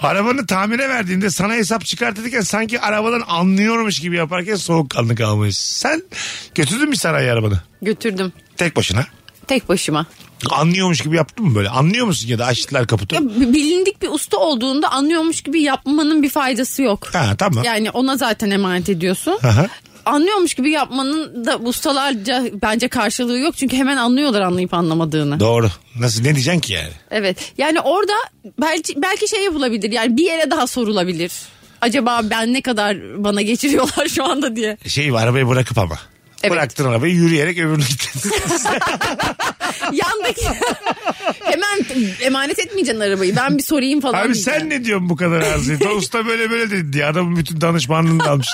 [SPEAKER 3] Arabanı tamire verdiğinde sana hesap çıkartırken sanki arabadan anlıyormuş gibi yaparken soğukkanlı kalmayız. Sen götürdün mü sanayi arabanı?
[SPEAKER 4] Götürdüm.
[SPEAKER 3] Tek başına.
[SPEAKER 4] Tek başıma.
[SPEAKER 3] Anlıyormuş gibi yaptın mı böyle? Anlıyor musun ya da açtılar kaputu?
[SPEAKER 4] Ya b- bilindik bir usta olduğunda anlıyormuş gibi yapmanın bir faydası yok.
[SPEAKER 3] Ha tamam.
[SPEAKER 4] Yani ona zaten emanet ediyorsun.
[SPEAKER 3] Aha.
[SPEAKER 4] Anlıyormuş gibi yapmanın da ustalarca bence karşılığı yok. Çünkü hemen anlıyorlar anlayıp anlamadığını.
[SPEAKER 3] Doğru. Nasıl ne diyeceksin ki yani?
[SPEAKER 4] Evet. Yani orada belki belki şey yapılabilir. Yani bir yere daha sorulabilir. Acaba ben ne kadar bana geçiriyorlar şu anda diye.
[SPEAKER 3] Şey arabayı bırakıp ama.
[SPEAKER 4] Evet.
[SPEAKER 3] Bıraktın arabayı yürüyerek öbürüne gittin.
[SPEAKER 4] Yandaki hemen emanet etmeyeceksin arabayı. Ben bir sorayım falan.
[SPEAKER 3] Abi
[SPEAKER 4] diyeceksin.
[SPEAKER 3] sen ne diyorsun bu kadar az diye. Ta Usta böyle böyle dedi diye. Adamın bütün danışmanlığını da almış.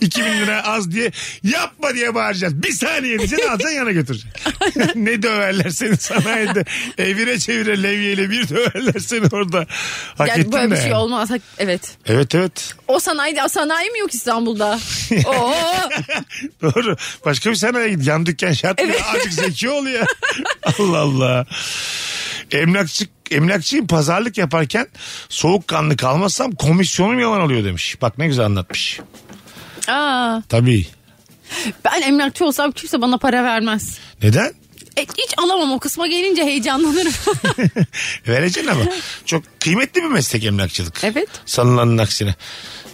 [SPEAKER 3] 2000 lira az diye yapma diye bağıracaksın. Bir saniye diyeceksin alacaksın yana götüreceksin. ne döverler seni sanayide. Evire çevire levyeyle bir döverler seni orada. Hak
[SPEAKER 4] Yani
[SPEAKER 3] ettin
[SPEAKER 4] böyle
[SPEAKER 3] de
[SPEAKER 4] bir şey
[SPEAKER 3] yani.
[SPEAKER 4] olmaz. Hak- Evet.
[SPEAKER 3] Evet evet.
[SPEAKER 4] O sanayi, sanayi mi yok İstanbul'da? Oo.
[SPEAKER 3] Doğru. Başka bir sanayiye git. Yan dükkan şart mı? Azıcık zeki ol ya. Allah Allah. Emlakçı, emlakçıyım pazarlık yaparken soğukkanlı kalmazsam komisyonum yalan oluyor demiş. Bak ne güzel anlatmış.
[SPEAKER 4] Aa,
[SPEAKER 3] Tabii.
[SPEAKER 4] ben emlakçı olsam kimse bana para vermez.
[SPEAKER 3] Neden?
[SPEAKER 4] E, hiç alamam o kısma gelince heyecanlanırım.
[SPEAKER 3] Vereceksin ama. Çok kıymetli bir meslek emlakçılık.
[SPEAKER 4] Evet.
[SPEAKER 3] Sanılanın aksine.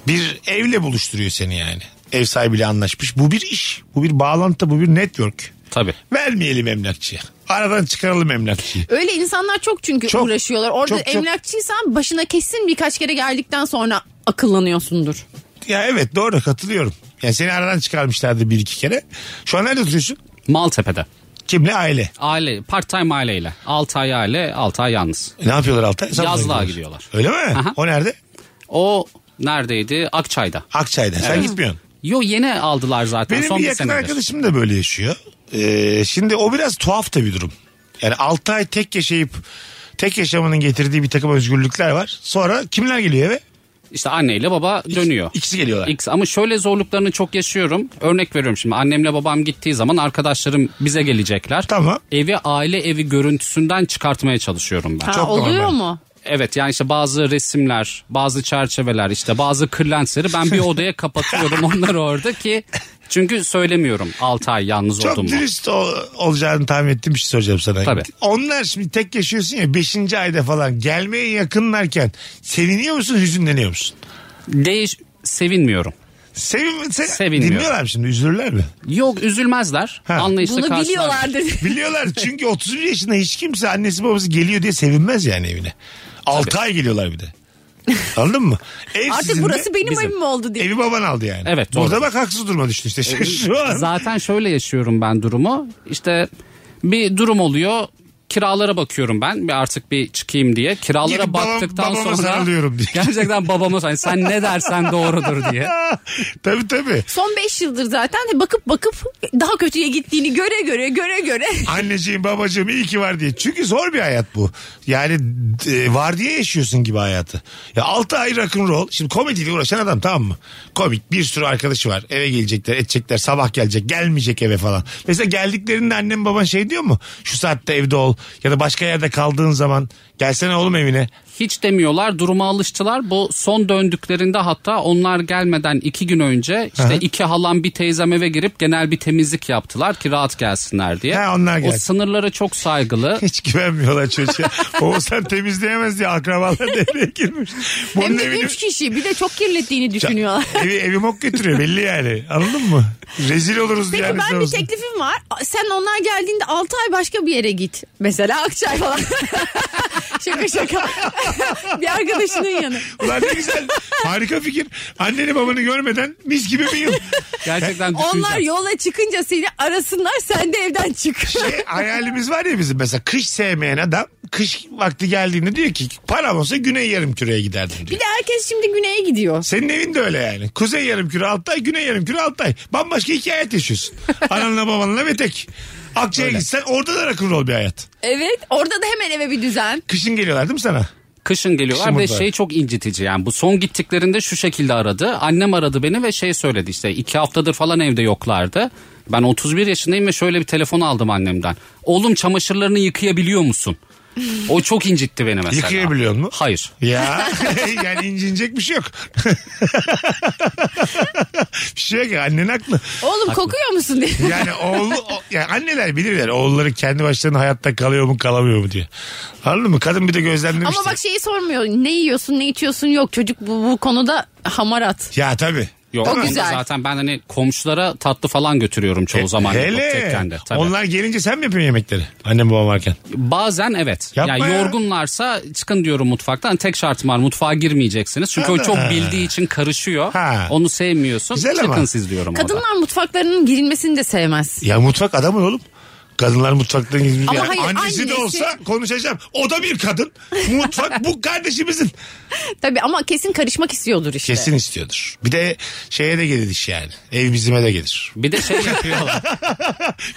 [SPEAKER 3] Bir evle buluşturuyor seni yani. Ev sahibiyle anlaşmış. Bu bir iş. Bu bir bağlantı. Bu bir network.
[SPEAKER 5] Tabii.
[SPEAKER 3] Vermeyelim emlakçıya. Aradan çıkaralım emlakçıyı.
[SPEAKER 4] Öyle insanlar çok çünkü
[SPEAKER 3] Çok,
[SPEAKER 4] uğraşıyorlar. Orada
[SPEAKER 3] çok, çok.
[SPEAKER 4] emlakçıysan başına kesin birkaç kere geldikten sonra akıllanıyorsundur.
[SPEAKER 3] Ya evet doğru katılıyorum. Yani seni aradan çıkarmışlardı bir iki kere. Şu an nerede oturuyorsun?
[SPEAKER 5] Maltepe'de.
[SPEAKER 3] Kimle? Aile.
[SPEAKER 5] Aile, part time aileyle. 6 ay aile, 6 ay yalnız.
[SPEAKER 3] E, Ne yapıyorlar Altay? Samsun'a
[SPEAKER 5] Yazlığa gidiyorlar.
[SPEAKER 3] Öyle mi?
[SPEAKER 5] Aha.
[SPEAKER 3] O nerede?
[SPEAKER 5] O neredeydi? Akçay'da.
[SPEAKER 3] Akçay'da. Sen gitmiyorsun.
[SPEAKER 5] Yo yeni aldılar zaten
[SPEAKER 3] Benim
[SPEAKER 5] son
[SPEAKER 3] bir
[SPEAKER 5] bir
[SPEAKER 3] yakın
[SPEAKER 5] senedir.
[SPEAKER 3] arkadaşım da böyle yaşıyor. Ee, şimdi o biraz tuhaf da bir durum. Yani 6 ay tek yaşayıp tek yaşamanın getirdiği bir takım özgürlükler var. Sonra kimler geliyor eve?
[SPEAKER 5] İşte anneyle baba dönüyor.
[SPEAKER 3] İkisi geliyorlar.
[SPEAKER 5] İkisi- ama şöyle zorluklarını çok yaşıyorum. Örnek veriyorum şimdi annemle babam gittiği zaman arkadaşlarım bize gelecekler.
[SPEAKER 3] Tamam.
[SPEAKER 5] Evi aile evi görüntüsünden çıkartmaya çalışıyorum ben.
[SPEAKER 4] Ha,
[SPEAKER 3] Çok
[SPEAKER 4] oluyor
[SPEAKER 3] normal.
[SPEAKER 4] mu?
[SPEAKER 5] Evet yani işte bazı resimler, bazı çerçeveler, işte bazı kırlentleri ben bir odaya kapatıyorum onları orada ki çünkü söylemiyorum 6 ay yalnız
[SPEAKER 3] Çok
[SPEAKER 5] oldum mu?
[SPEAKER 3] dürüst ol- olacağını tahmin ettiğim bir şey soracağım sana.
[SPEAKER 5] Tabii.
[SPEAKER 3] Onlar şimdi tek yaşıyorsun ya 5. ayda falan gelmeye yakınlarken seviniyor musun hüzünleniyor musun?
[SPEAKER 5] Değiş sevinmiyorum.
[SPEAKER 3] Sevin, se-
[SPEAKER 5] Sevinmiyorum.
[SPEAKER 3] Dinliyorlar mı şimdi üzülürler mi?
[SPEAKER 5] Yok üzülmezler.
[SPEAKER 3] Ha.
[SPEAKER 5] Anlayışla
[SPEAKER 4] Bunu
[SPEAKER 5] karşılarlar.
[SPEAKER 4] biliyorlardır.
[SPEAKER 3] Biliyorlar çünkü 30 yaşında hiç kimse annesi babası geliyor diye sevinmez yani evine. 6 ay geliyorlar bir de. Anladın mı? Ev
[SPEAKER 4] Artık
[SPEAKER 3] sizin
[SPEAKER 4] burası
[SPEAKER 3] de,
[SPEAKER 4] benim
[SPEAKER 5] bizim.
[SPEAKER 4] evim oldu diye.
[SPEAKER 3] Evi baban aldı yani.
[SPEAKER 5] Evet, doğru. E,
[SPEAKER 3] Burada bak haksız duruma düştü işte şu, şu an.
[SPEAKER 5] Zaten şöyle yaşıyorum ben durumu. İşte bir durum oluyor. Kiralara bakıyorum ben. Bir artık bir çıkayım diye. Kiralara
[SPEAKER 3] Gidip babam-
[SPEAKER 5] baktıktan
[SPEAKER 3] babama
[SPEAKER 5] sonra
[SPEAKER 3] sarılıyorum diye.
[SPEAKER 5] Gerçekten babama sarılıyorum. Sen ne dersen doğrudur diye.
[SPEAKER 3] tabii tabii.
[SPEAKER 4] Son 5 yıldır zaten bakıp bakıp daha kötüye gittiğini göre göre göre göre.
[SPEAKER 3] Anneciğim babacığım iyi ki var diye. Çünkü zor bir hayat bu. Yani e, var diye yaşıyorsun gibi hayatı. Ya 6 ay rock'n'roll. Şimdi komediyle uğraşan adam tamam mı? Komik bir sürü arkadaşı var. Eve gelecekler edecekler sabah gelecek gelmeyecek eve falan. Mesela geldiklerinde annem baban şey diyor mu? Şu saatte evde ol ya da başka yerde kaldığın zaman gelsene oğlum evine.
[SPEAKER 5] Hiç demiyorlar. Duruma alıştılar. Bu son döndüklerinde hatta onlar gelmeden iki gün önce işte iki halam bir teyzem eve girip genel bir temizlik yaptılar ki rahat gelsinler diye.
[SPEAKER 3] Ha, onlar
[SPEAKER 5] o
[SPEAKER 3] gelsin.
[SPEAKER 5] sınırlara çok saygılı.
[SPEAKER 3] Hiç güvenmiyorlar çocuğa. Oğuzhan temizleyemez diye akrabalar devreye girmiş. Bunun
[SPEAKER 4] Hem de
[SPEAKER 3] evini-
[SPEAKER 4] 3 kişi bir de çok kirlettiğini düşünüyorlar.
[SPEAKER 3] Evi, evi mok götürüyor belli yani. Anladın mı? Rezil oluruz
[SPEAKER 4] Peki
[SPEAKER 3] yani.
[SPEAKER 4] ben bir
[SPEAKER 3] sonrasında.
[SPEAKER 4] teklifim var. Sen onlar geldiğinde 6 ay başka bir yere git. Mesela Akçay falan. şaka şaka. bir arkadaşının yanı.
[SPEAKER 3] Ulan ne güzel. Harika fikir. Anneni babanı görmeden mis gibi bir yıl.
[SPEAKER 5] Gerçekten
[SPEAKER 4] Onlar
[SPEAKER 5] düşüneceğim.
[SPEAKER 4] yola çıkınca seni arasınlar sen de evden çık.
[SPEAKER 3] Şey, hayalimiz var ya bizim mesela kış sevmeyen adam kış vakti geldiğinde diyor ki param olsa güney yarım küreye giderdim
[SPEAKER 4] bir
[SPEAKER 3] diyor.
[SPEAKER 4] de herkes şimdi güneye gidiyor.
[SPEAKER 3] Senin evin de öyle yani. Kuzey yarım küre Altay, güney yarım küre Altay. Bambaşka iki hayat yaşıyorsun. Ananla babanla ve tek. Akça'ya gitsen orada da rock'n'roll bir hayat.
[SPEAKER 4] Evet orada da hemen eve bir düzen.
[SPEAKER 3] Kışın geliyorlar değil mi sana?
[SPEAKER 5] Kışın geliyorlar
[SPEAKER 3] Kışın
[SPEAKER 5] ve
[SPEAKER 3] burada.
[SPEAKER 5] şey çok incitici yani bu son gittiklerinde şu şekilde aradı. Annem aradı beni ve şey söyledi işte iki haftadır falan evde yoklardı. Ben 31 yaşındayım ve şöyle bir telefon aldım annemden. Oğlum çamaşırlarını yıkayabiliyor musun? O çok incitti beni mesela.
[SPEAKER 3] Yıkayabiliyor mu?
[SPEAKER 5] Hayır.
[SPEAKER 3] Ya yani incinecek bir şey yok. bir şey yok ya annen haklı.
[SPEAKER 4] Oğlum kokuyor musun diye.
[SPEAKER 3] Yani oğlu o- yani anneler bilirler oğulları kendi başlarına hayatta kalıyor mu kalamıyor mu diye. Anladın mı? Kadın bir de gözlemlemişti.
[SPEAKER 4] Ama bak şeyi sormuyor. Ne yiyorsun ne içiyorsun yok. Çocuk bu, bu konuda hamarat.
[SPEAKER 3] Ya tabii.
[SPEAKER 5] Yok,
[SPEAKER 4] O
[SPEAKER 5] onda
[SPEAKER 4] güzel.
[SPEAKER 5] Zaten ben hani komşulara tatlı falan götürüyorum çoğu zaman. yok
[SPEAKER 3] E, Hele.
[SPEAKER 5] tekken de, tabii.
[SPEAKER 3] Onlar gelince sen mi yapıyorsun yemekleri? Annem babam varken.
[SPEAKER 5] Bazen evet.
[SPEAKER 3] Yapma
[SPEAKER 5] yani
[SPEAKER 3] ya.
[SPEAKER 5] yorgunlarsa çıkın diyorum mutfaktan. Tek şartım var mutfağa girmeyeceksiniz. Çünkü o çok
[SPEAKER 3] Ha.
[SPEAKER 5] bildiği için karışıyor.
[SPEAKER 3] Ha.
[SPEAKER 5] Onu sevmiyorsun.
[SPEAKER 3] Güzel
[SPEAKER 5] çıkın
[SPEAKER 3] ama.
[SPEAKER 5] siz diyorum orada.
[SPEAKER 4] Kadınlar mutfaklarının girilmesini de sevmez.
[SPEAKER 3] Ya mutfak adamın oğlum. Kadınlar mutfaktan gizli.
[SPEAKER 4] Ama
[SPEAKER 3] yani
[SPEAKER 4] hayır,
[SPEAKER 3] annesi, de
[SPEAKER 4] annesi-
[SPEAKER 3] olsa konuşacağım. O da bir kadın. Mutfak bu kardeşimizin.
[SPEAKER 4] Tabii ama kesin karışmak istiyordur işte.
[SPEAKER 3] Kesin istiyordur. Bir de şeye de gelir iş yani. Ev bizime de gelir.
[SPEAKER 5] Bir de şey yapıyorlar.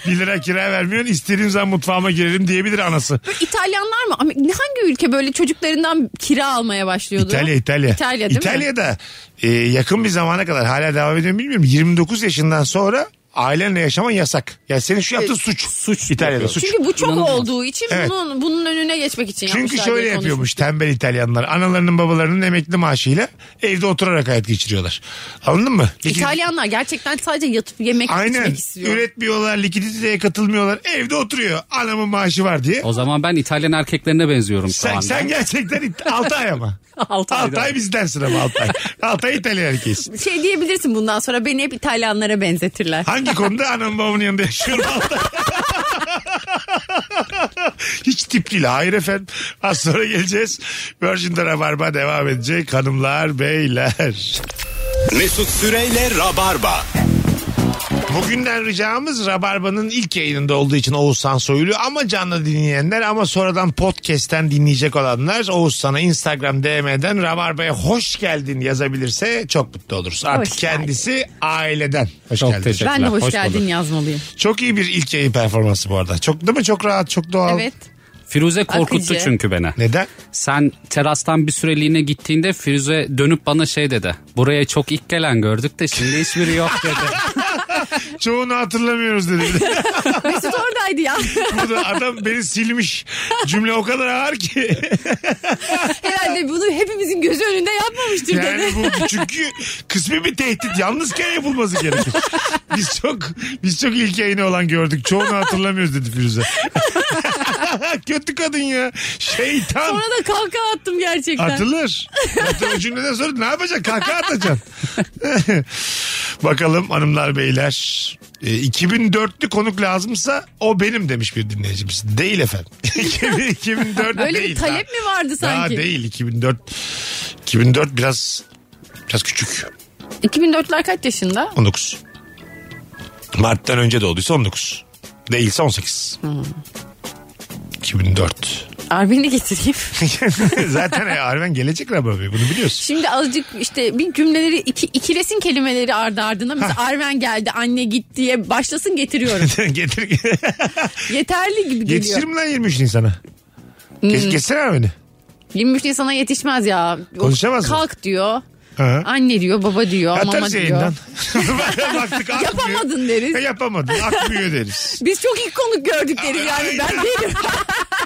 [SPEAKER 3] 1 lira kira vermiyorsun istediğim zaman mutfağıma girelim diyebilir anası.
[SPEAKER 4] İtalyanlar mı? Ama hangi ülke böyle çocuklarından kira almaya başlıyordu?
[SPEAKER 3] İtalya İtalya.
[SPEAKER 4] İtalya değil mi?
[SPEAKER 3] İtalya'da e, yakın bir zamana kadar hala devam ediyor mu bilmiyorum. 29 yaşından sonra ailenle yaşaman yasak. Yani senin şu yaptığın suç.
[SPEAKER 5] suç.
[SPEAKER 3] İtalya'da suç.
[SPEAKER 4] E, Çünkü bu çok
[SPEAKER 5] İnanılmaz.
[SPEAKER 4] olduğu için
[SPEAKER 3] Evet.
[SPEAKER 4] bunun bunun önüne geçmek için
[SPEAKER 3] Çünkü
[SPEAKER 4] yapmışlar
[SPEAKER 3] şöyle
[SPEAKER 4] diye
[SPEAKER 3] yapıyormuş tembel İtalyanlar. Analarının babalarının emekli maaşıyla evde oturarak hayat geçiriyorlar. Anladın mı?
[SPEAKER 4] konuşmuştuk. İtalyanlar gerçekten sadece yatıp yemek
[SPEAKER 3] Aynen.
[SPEAKER 4] içmek istiyor.
[SPEAKER 3] Üretmiyorlar, likiditeye katılmıyorlar. Evde oturuyor. Anamın maaşı var diye.
[SPEAKER 5] O zaman ben İtalyan erkeklerine benziyorum şu
[SPEAKER 3] Sen,
[SPEAKER 5] anda.
[SPEAKER 3] sen gerçekten Altay ama.
[SPEAKER 5] Altay'dan.
[SPEAKER 3] Altay bizdensin ama Altay. Altay İtalyan herkes.
[SPEAKER 4] Şey diyebilirsin bundan sonra beni hep İtalyanlara benzetirler.
[SPEAKER 3] Hangi konuda anam babamın yanında yaşıyorum Altay? Hiç tip değil. Hayır efendim. Az sonra geleceğiz. Virgin'de Rabarba devam edecek. Hanımlar, beyler.
[SPEAKER 2] Mesut Süreyle Rabarba.
[SPEAKER 3] Bugünden ricamız Rabarba'nın ilk yayınında olduğu için Oğuzhan Soylu ama canlı dinleyenler ama sonradan podcast'ten dinleyecek olanlar Oğuzhan'a Instagram DM'den Rabarba'ya hoş geldin yazabilirse çok mutlu oluruz. Artık
[SPEAKER 4] Hoş geldin.
[SPEAKER 3] kendisi aileden. Hoş
[SPEAKER 5] Çok
[SPEAKER 3] geldin.
[SPEAKER 5] teşekkür-
[SPEAKER 4] Ben de hoş,
[SPEAKER 5] Hoş
[SPEAKER 4] geldin
[SPEAKER 5] bulduk.
[SPEAKER 4] yazmalıyım.
[SPEAKER 3] Çok iyi bir ilk yayın performansı bu arada. Çok değil mi? Çok rahat, çok doğal.
[SPEAKER 4] Evet.
[SPEAKER 5] Firuze korkuttu
[SPEAKER 4] Akıcı.
[SPEAKER 5] çünkü beni.
[SPEAKER 3] Neden?
[SPEAKER 5] Sen terastan bir süreliğine gittiğinde Firuze dönüp bana şey dedi. Buraya çok ilk gelen gördük de şimdi hiçbiri yok dedi.
[SPEAKER 3] Çoğunu hatırlamıyoruz dedi.
[SPEAKER 4] Mesut oradaydı ya.
[SPEAKER 3] Burada adam beni silmiş. Cümle o kadar ağır ki.
[SPEAKER 4] Herhalde bunu hepimizin gözü önünde yapmamıştır
[SPEAKER 3] Yani
[SPEAKER 4] dedi.
[SPEAKER 3] bu çünkü kısmi bir tehdit. Yalnızken yapılması gerekir. Biz çok biz çok ilk yayını olan gördük. Çoğunu hatırlamıyoruz dedi Firuze. Kötü kadın ya. Şeytan.
[SPEAKER 4] Sonra da kahkaha attım gerçekten.
[SPEAKER 3] Atılır. Hatta o cümleden sonra ne yapacaksın? Kahkaha atacaksın. Bakalım hanımlar beyler. E, 2004'lü konuk lazımsa o benim demiş bir dinleyicimiz. Değil efendim. 2004
[SPEAKER 4] Böyle
[SPEAKER 3] değil.
[SPEAKER 4] bir talep
[SPEAKER 3] daha.
[SPEAKER 4] mi vardı sanki?
[SPEAKER 3] Daha değil 2004. 2004 biraz biraz küçük.
[SPEAKER 4] 2004'ler kaç yaşında?
[SPEAKER 3] 19. Mart'tan önce de olduysa 19. Değilse 18.
[SPEAKER 4] Hmm.
[SPEAKER 3] 2004.
[SPEAKER 4] Armin'i getireyim.
[SPEAKER 3] Zaten e, Arven gelecek Rababi bunu biliyorsun.
[SPEAKER 4] Şimdi azıcık işte bir cümleleri iki, ikilesin kelimeleri ardı ardına. Mesela Arven geldi anne git diye başlasın getiriyorum.
[SPEAKER 3] Getir.
[SPEAKER 4] Yeterli gibi geliyor. Hmm.
[SPEAKER 3] Yetişir mi lan 23 Nisan'a? Kes, kessene Arven'i.
[SPEAKER 4] 23 Nisan'a yetişmez ya. O
[SPEAKER 3] Konuşamaz mı?
[SPEAKER 4] Kalk diyor.
[SPEAKER 3] Hı.
[SPEAKER 4] Anne diyor, baba diyor, mama
[SPEAKER 3] Atarız
[SPEAKER 4] diyor.
[SPEAKER 3] yayından. Baktık akmıyor.
[SPEAKER 4] Yapamadın deriz.
[SPEAKER 3] Ha, Yapamadın. Akmıyor deriz.
[SPEAKER 4] Biz çok ilk konuk gördük deriz yani ben değilim.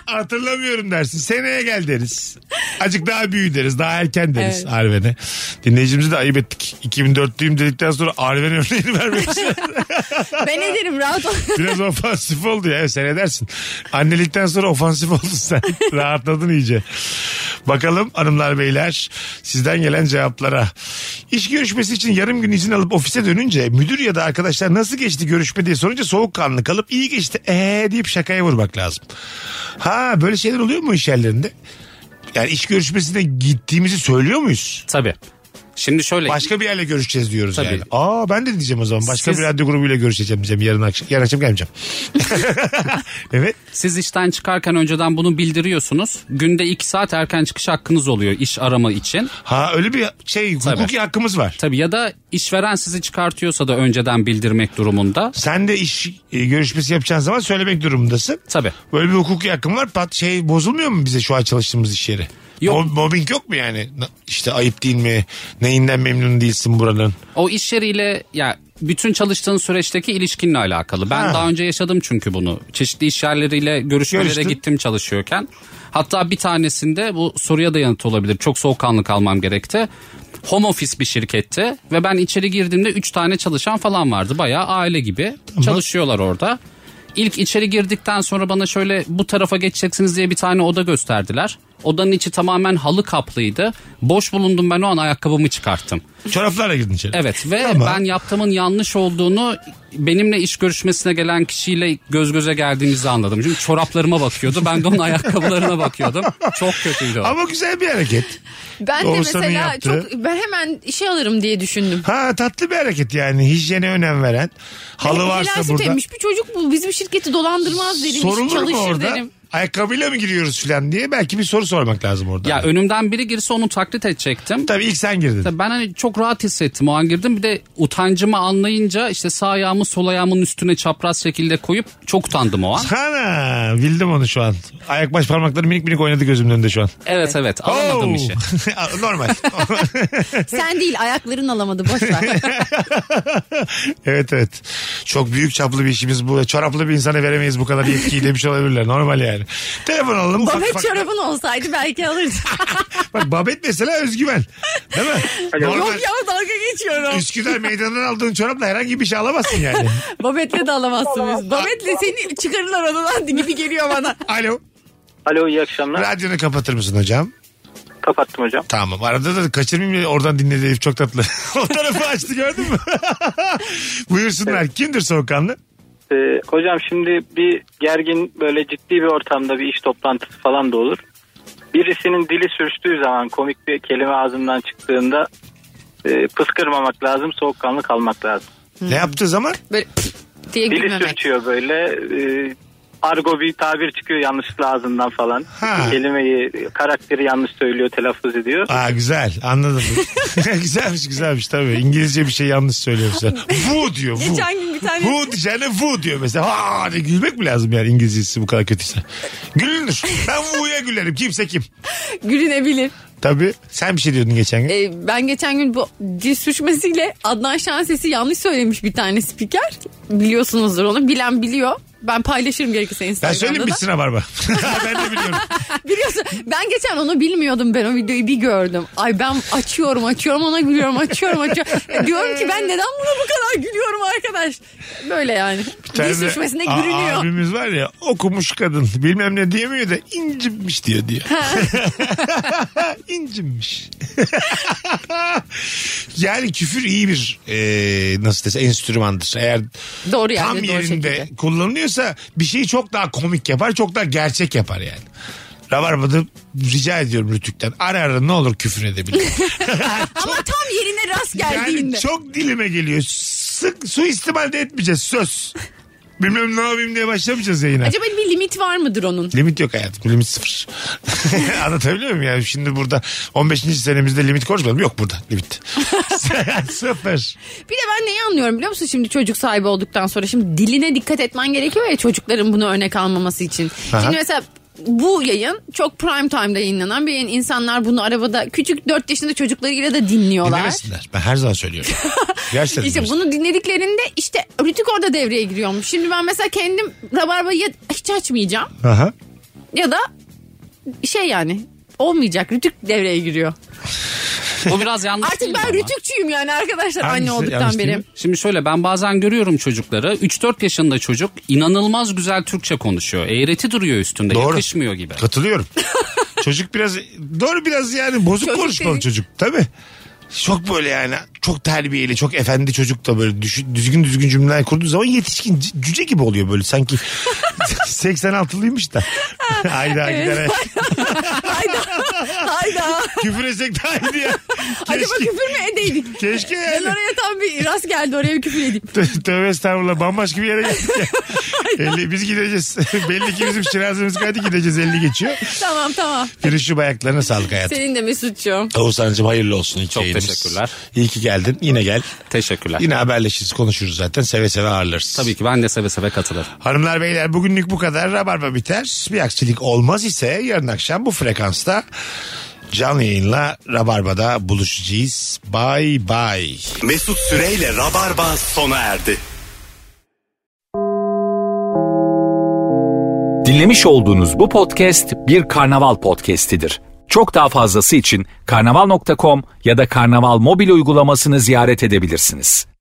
[SPEAKER 3] Hatırlamıyorum dersin. Seneye gel deriz. Acık daha büyü deriz. Daha erken deriz
[SPEAKER 4] Evet.
[SPEAKER 3] Arven'e. Dinleyicimizi de ayıp ettik. 2004'lüyüm dedikten sonra Arven örneğini vermek için.
[SPEAKER 4] ben ederim rahat ol.
[SPEAKER 3] Biraz ofansif oldu ya sen edersin. Annelikten sonra ofansif oldun sen. Rahatladın iyice. Bakalım hanımlar beyler sizden gelen cevaplara. İş görüşmesi için yarım gün izin alıp ofise dönünce müdür ya da arkadaşlar nasıl geçti görüşme diye sorunca soğukkanlı kalıp iyi geçti ee deyip şakaya vurmak lazım. Ha böyle şeyler oluyor mu iş yerlerinde? Yani iş görüşmesine gittiğimizi söylüyor muyuz?
[SPEAKER 5] Tabii. Şimdi şöyle
[SPEAKER 3] Başka bir yerle görüşeceğiz diyoruz
[SPEAKER 5] Tabii.
[SPEAKER 3] yani. Aa ben de diyeceğim o zaman. Başka
[SPEAKER 5] Siz-
[SPEAKER 3] bir radyo grubuyla görüşeceğim diyeceğim yarın akşam. Yarın akşam gelmeyeceğim. evet.
[SPEAKER 5] siz işten çıkarken önceden bunu bildiriyorsunuz. Günde 2 saat erken çıkış hakkınız oluyor iş arama için.
[SPEAKER 3] Ha öyle bir şey hukuki hakkımız var.
[SPEAKER 5] Tabii ya da işveren sizi çıkartıyorsa da önceden bildirmek durumunda.
[SPEAKER 3] Sen de iş e, görüşmesi yapacağın zaman söylemek durumundasın.
[SPEAKER 5] Tabii.
[SPEAKER 3] Böyle bir hukuki hakkın var. Pat şey bozulmuyor mu bize şu an çalıştığımız iş yeri?
[SPEAKER 5] Yok.
[SPEAKER 3] Mo- mobbing yok mu yani? Na- İşte ayıp değil mi? Neyinden memnun değilsin buranın?
[SPEAKER 5] O iş yeriyle ya bütün çalıştığın süreçteki ilişkinle alakalı. Ben
[SPEAKER 3] Ha.
[SPEAKER 5] daha önce yaşadım çünkü bunu. Çeşitli iş yerleriyle görüşmelere
[SPEAKER 3] Görüştün.
[SPEAKER 5] gittim çalışıyorken. Hatta bir tanesinde bu soruya da yanıt olabilir. Çok soğukkanlı kalmam gerekti. Home office bir şirketti ve ben içeri girdiğimde 3 tane çalışan falan vardı. Bayağı aile gibi çalışıyorlar orada. İlk içeri girdikten sonra bana şöyle bu tarafa geçeceksiniz diye bir tane oda gösterdiler. Odanın içi tamamen halı kaplıydı. Boş bulundum ben o an ayakkabımı çıkarttım.
[SPEAKER 3] Çoraplarla girdin içeri.
[SPEAKER 5] Evet ve
[SPEAKER 3] Tamam.
[SPEAKER 5] ben yaptığımın yanlış olduğunu benimle iş görüşmesine gelen kişiyle göz göze geldiğimizde anladım. Çünkü çoraplarıma bakıyordu ben de onun ayakkabılarına bakıyordum. Çok kötüydü o.
[SPEAKER 3] Ama güzel bir hareket.
[SPEAKER 4] Ben de
[SPEAKER 3] Oğuzhan'ın
[SPEAKER 4] mesela
[SPEAKER 3] yaptığı.
[SPEAKER 4] çok ben hemen işe alırım diye düşündüm.
[SPEAKER 3] Ha tatlı bir hareket yani. Hijyene önem veren. Halı varsa
[SPEAKER 4] Helal süt
[SPEAKER 3] burada.
[SPEAKER 4] emmiş bir çocuk bu bizim şirketi dolandırmaz derim. iş
[SPEAKER 3] Sorulur mu
[SPEAKER 4] çalışır
[SPEAKER 3] orada?
[SPEAKER 4] derim.
[SPEAKER 3] Ayakkabıyla mı giriyoruz filan diye belki bir soru sormak lazım orada.
[SPEAKER 5] Ya önümden biri girse onu taklit edecektim.
[SPEAKER 3] Tabii ilk sen girdin.
[SPEAKER 5] Tabii ben hani çok rahat hissettim o an girdim. Bir de utancımı anlayınca işte sağ ayağımı sol ayağımın üstüne çapraz şekilde koyup çok utandım o an.
[SPEAKER 3] Hana bildim onu şu an. Ayak baş parmakları minik minik oynadı gözümün önünde şu an.
[SPEAKER 5] Evet evet alamadım
[SPEAKER 3] Oo.
[SPEAKER 5] işi.
[SPEAKER 3] Normal.
[SPEAKER 4] Sen değil ayakların alamadı boş ver.
[SPEAKER 3] evet evet. Çok büyük çaplı bir işimiz bu. Çoraplı bir insana veremeyiz bu kadar yetkiyi demiş olabilirler. Normal yani. Telefon alalım. Ufak
[SPEAKER 4] Babet
[SPEAKER 3] ufak-
[SPEAKER 4] çorabın olsaydı belki alırdı.
[SPEAKER 3] Bak Babet mesela özgüven. Değil mi? Normal.
[SPEAKER 4] Yok ya dalga geçiyorum.
[SPEAKER 3] Üsküdar meydanından aldığın çorapla herhangi bir şey alamazsın yani.
[SPEAKER 4] Babet'le de alamazsınız. Babet'le seni çıkarırlar odadan gibi geliyor bana.
[SPEAKER 3] Alo.
[SPEAKER 6] Alo iyi akşamlar.
[SPEAKER 3] Radyonu kapatır mısın hocam?
[SPEAKER 6] Kapattım hocam.
[SPEAKER 3] Tamam. Arada da kaçırmayayım diye oradan dinledi herif çok tatlı. o tarafı açtı gördün mü? Buyursunlar. Kimdir soğukkanlı?
[SPEAKER 6] Ee, hocam şimdi bir gergin böyle ciddi bir ortamda bir iş toplantısı falan da olur. Birisinin dili sürçtüğü zaman komik bir kelime ağzından çıktığında e, pıskırmamak lazım, soğukkanlı kalmak lazım.
[SPEAKER 3] Ne yaptığı zaman?
[SPEAKER 4] Böyle diye
[SPEAKER 6] Dili
[SPEAKER 4] gülmemek.
[SPEAKER 6] sürçüyor böyle. e, argo bir tabir çıkıyor yanlışlıkla ağzından falan.
[SPEAKER 3] Ha.
[SPEAKER 6] Kelimeyi, karakteri yanlış söylüyor, telaffuz ediyor.
[SPEAKER 3] Aa güzel anladım. güzelmiş güzelmiş tabii. İngilizce bir şey yanlış söylüyormuş. Vu diyor vu.
[SPEAKER 4] Geçen gün bir tane-
[SPEAKER 3] Vu diyeceğine vu diyor mesela. Ha de gülmek mi lazım yani İngilizcesi bu kadar kötüyse. Gülünür. Ben vu'ya gülerim. Kimse kim.
[SPEAKER 4] Gülünebilir.
[SPEAKER 3] Tabii. Sen bir şey diyordun geçen gün.
[SPEAKER 4] Ee, ben geçen gün bu dil sürçmesiyle Adnan Şanses'i yanlış söylemiş bir tane spiker. Biliyorsunuzdur onu. Bilen biliyor. Ben paylaşırım gerekirse
[SPEAKER 3] ben
[SPEAKER 4] Instagram'da
[SPEAKER 3] söyleyeyim
[SPEAKER 4] da.
[SPEAKER 3] bitsin abarba. ben de biliyorum.
[SPEAKER 4] Biliyorsun ben geçen onu bilmiyordum ben o videoyu bir gördüm. Ay ben açıyorum açıyorum ona gülüyorum açıyorum açıyorum. E, Diyorum ki ben neden buna bu kadar gülüyorum arkadaş. Böyle yani. Dil
[SPEAKER 3] tane
[SPEAKER 4] sürçmesine
[SPEAKER 3] a-
[SPEAKER 4] gülünüyor.
[SPEAKER 3] Abimiz var ya okumuş kadın bilmem ne diyemiyor da incinmiş diyor diyor. incinmiş. yani küfür iyi bir e, nasıl dese enstrümandır. Eğer
[SPEAKER 4] Doğru yani
[SPEAKER 3] tam
[SPEAKER 4] doğru
[SPEAKER 3] yerinde
[SPEAKER 4] şekilde.
[SPEAKER 3] kullanılıyorsa bir şeyi çok daha komik yapar çok daha gerçek yapar yani. Rabarba'da rica ediyorum Rütük'ten. Ara ara ne olur küfür edebilir.
[SPEAKER 4] Ama tam yerine rast
[SPEAKER 3] Yani
[SPEAKER 4] geldiğinde.
[SPEAKER 3] çok dilime geliyor. Sık suistimal de etmeyeceğiz söz. Bilmem ne yapayım diye başlamayacağız yayına.
[SPEAKER 4] Acaba bir limit var mıdır onun?
[SPEAKER 3] Limit yok hayatım. Limit sıfır. Anlatabiliyor muyum yani? Şimdi burada 15. senemizde limit konuşmadım. Yok burada limit. sıfır.
[SPEAKER 4] Bir de ben neyi anlıyorum biliyor musun şimdi çocuk sahibi olduktan sonra şimdi diline dikkat etmen gerekiyor ya çocukların bunu örnek almaması için.
[SPEAKER 3] Aha.
[SPEAKER 4] Şimdi mesela bu yayın çok prime time'da yayınlanan bir yayın. İnsanlar bunu arabada küçük 4 yaşında çocuklarıyla da dinliyorlar.
[SPEAKER 3] Dinlemesinler. Ben her zaman söylüyorum. Gerçekten
[SPEAKER 4] İşte
[SPEAKER 3] dinlemesinler.
[SPEAKER 4] bunu dinlediklerinde işte Rütük orada devreye giriyormuş. Şimdi ben mesela kendim rabarbayı ya hiç açmayacağım
[SPEAKER 3] Aha.
[SPEAKER 4] ya da şey yani olmayacak Rütük devreye giriyor.
[SPEAKER 5] O biraz yanlış
[SPEAKER 4] Artık
[SPEAKER 5] değil mi ama?
[SPEAKER 4] ben Rütükçüyüm yani
[SPEAKER 3] Hangisi
[SPEAKER 4] arkadaşlar anne
[SPEAKER 3] yanlış
[SPEAKER 4] olduktan
[SPEAKER 3] değil
[SPEAKER 4] beri.
[SPEAKER 3] mi?
[SPEAKER 5] Şimdi şöyle ben bazen görüyorum çocukları 3-4 yaşında çocuk inanılmaz güzel Türkçe konuşuyor. Eğreti duruyor üstünde
[SPEAKER 3] Doğru.
[SPEAKER 5] yakışmıyor gibi.
[SPEAKER 3] Katılıyorum. çocuk biraz doğru biraz yani bozuk
[SPEAKER 4] Çocuk
[SPEAKER 3] konuşmalı
[SPEAKER 4] dedi.
[SPEAKER 3] çocuk. Tabii. Çok böyle yani çok terbiyeli çok efendi çocuk da böyle düşün- düzgün düzgün cümleler kurduğu zaman yetişkin c- cüce gibi oluyor böyle sanki 86'lıymış da. Hayda gider.
[SPEAKER 4] Hayda hayda.
[SPEAKER 3] Küfür etsek daha iyiydi ya.
[SPEAKER 4] Acaba
[SPEAKER 3] Keşke-
[SPEAKER 4] küfür mü edeydik?
[SPEAKER 3] Keşke
[SPEAKER 4] Ben
[SPEAKER 3] yani.
[SPEAKER 4] oraya tam bir rast geldi oraya bir küfür edeyim.
[SPEAKER 3] Tö- Tövbe estağfurullah bambaşka bir yere geldik ya. Elli- biz gideceğiz. Belli ki bizim şirazımız kaydı gideceğiz 50 geçiyor.
[SPEAKER 4] Tamam tamam.
[SPEAKER 3] Firuşu ayaklarına sağlık hayatım.
[SPEAKER 4] Senin de Mesut'cuğum.
[SPEAKER 3] Oğuzhan'cığım hayırlı olsun. ilk
[SPEAKER 5] Çok
[SPEAKER 3] yayınımız.
[SPEAKER 5] teşekkürler.
[SPEAKER 3] İyi ki geldin. Yine gel.
[SPEAKER 5] Teşekkürler.
[SPEAKER 3] Yine haberleşiriz konuşuruz zaten. Seve seve ağırlarız.
[SPEAKER 5] Tabii ki ben de seve seve katılırım.
[SPEAKER 3] Hanımlar beyler bugünlük bu kadar. Rabarba biter. Bir aksilik olmaz ise yarın akşam bu frekansta canlı yayınla Rabarba'da buluşacağız. Bye bye.
[SPEAKER 2] Mesut Süreyle Rabarba sona erdi.
[SPEAKER 1] Dinlemiş olduğunuz bu podcast bir karnaval podcastidir. Çok daha fazlası için karnaval.com ya da karnaval mobil uygulamasını ziyaret edebilirsiniz.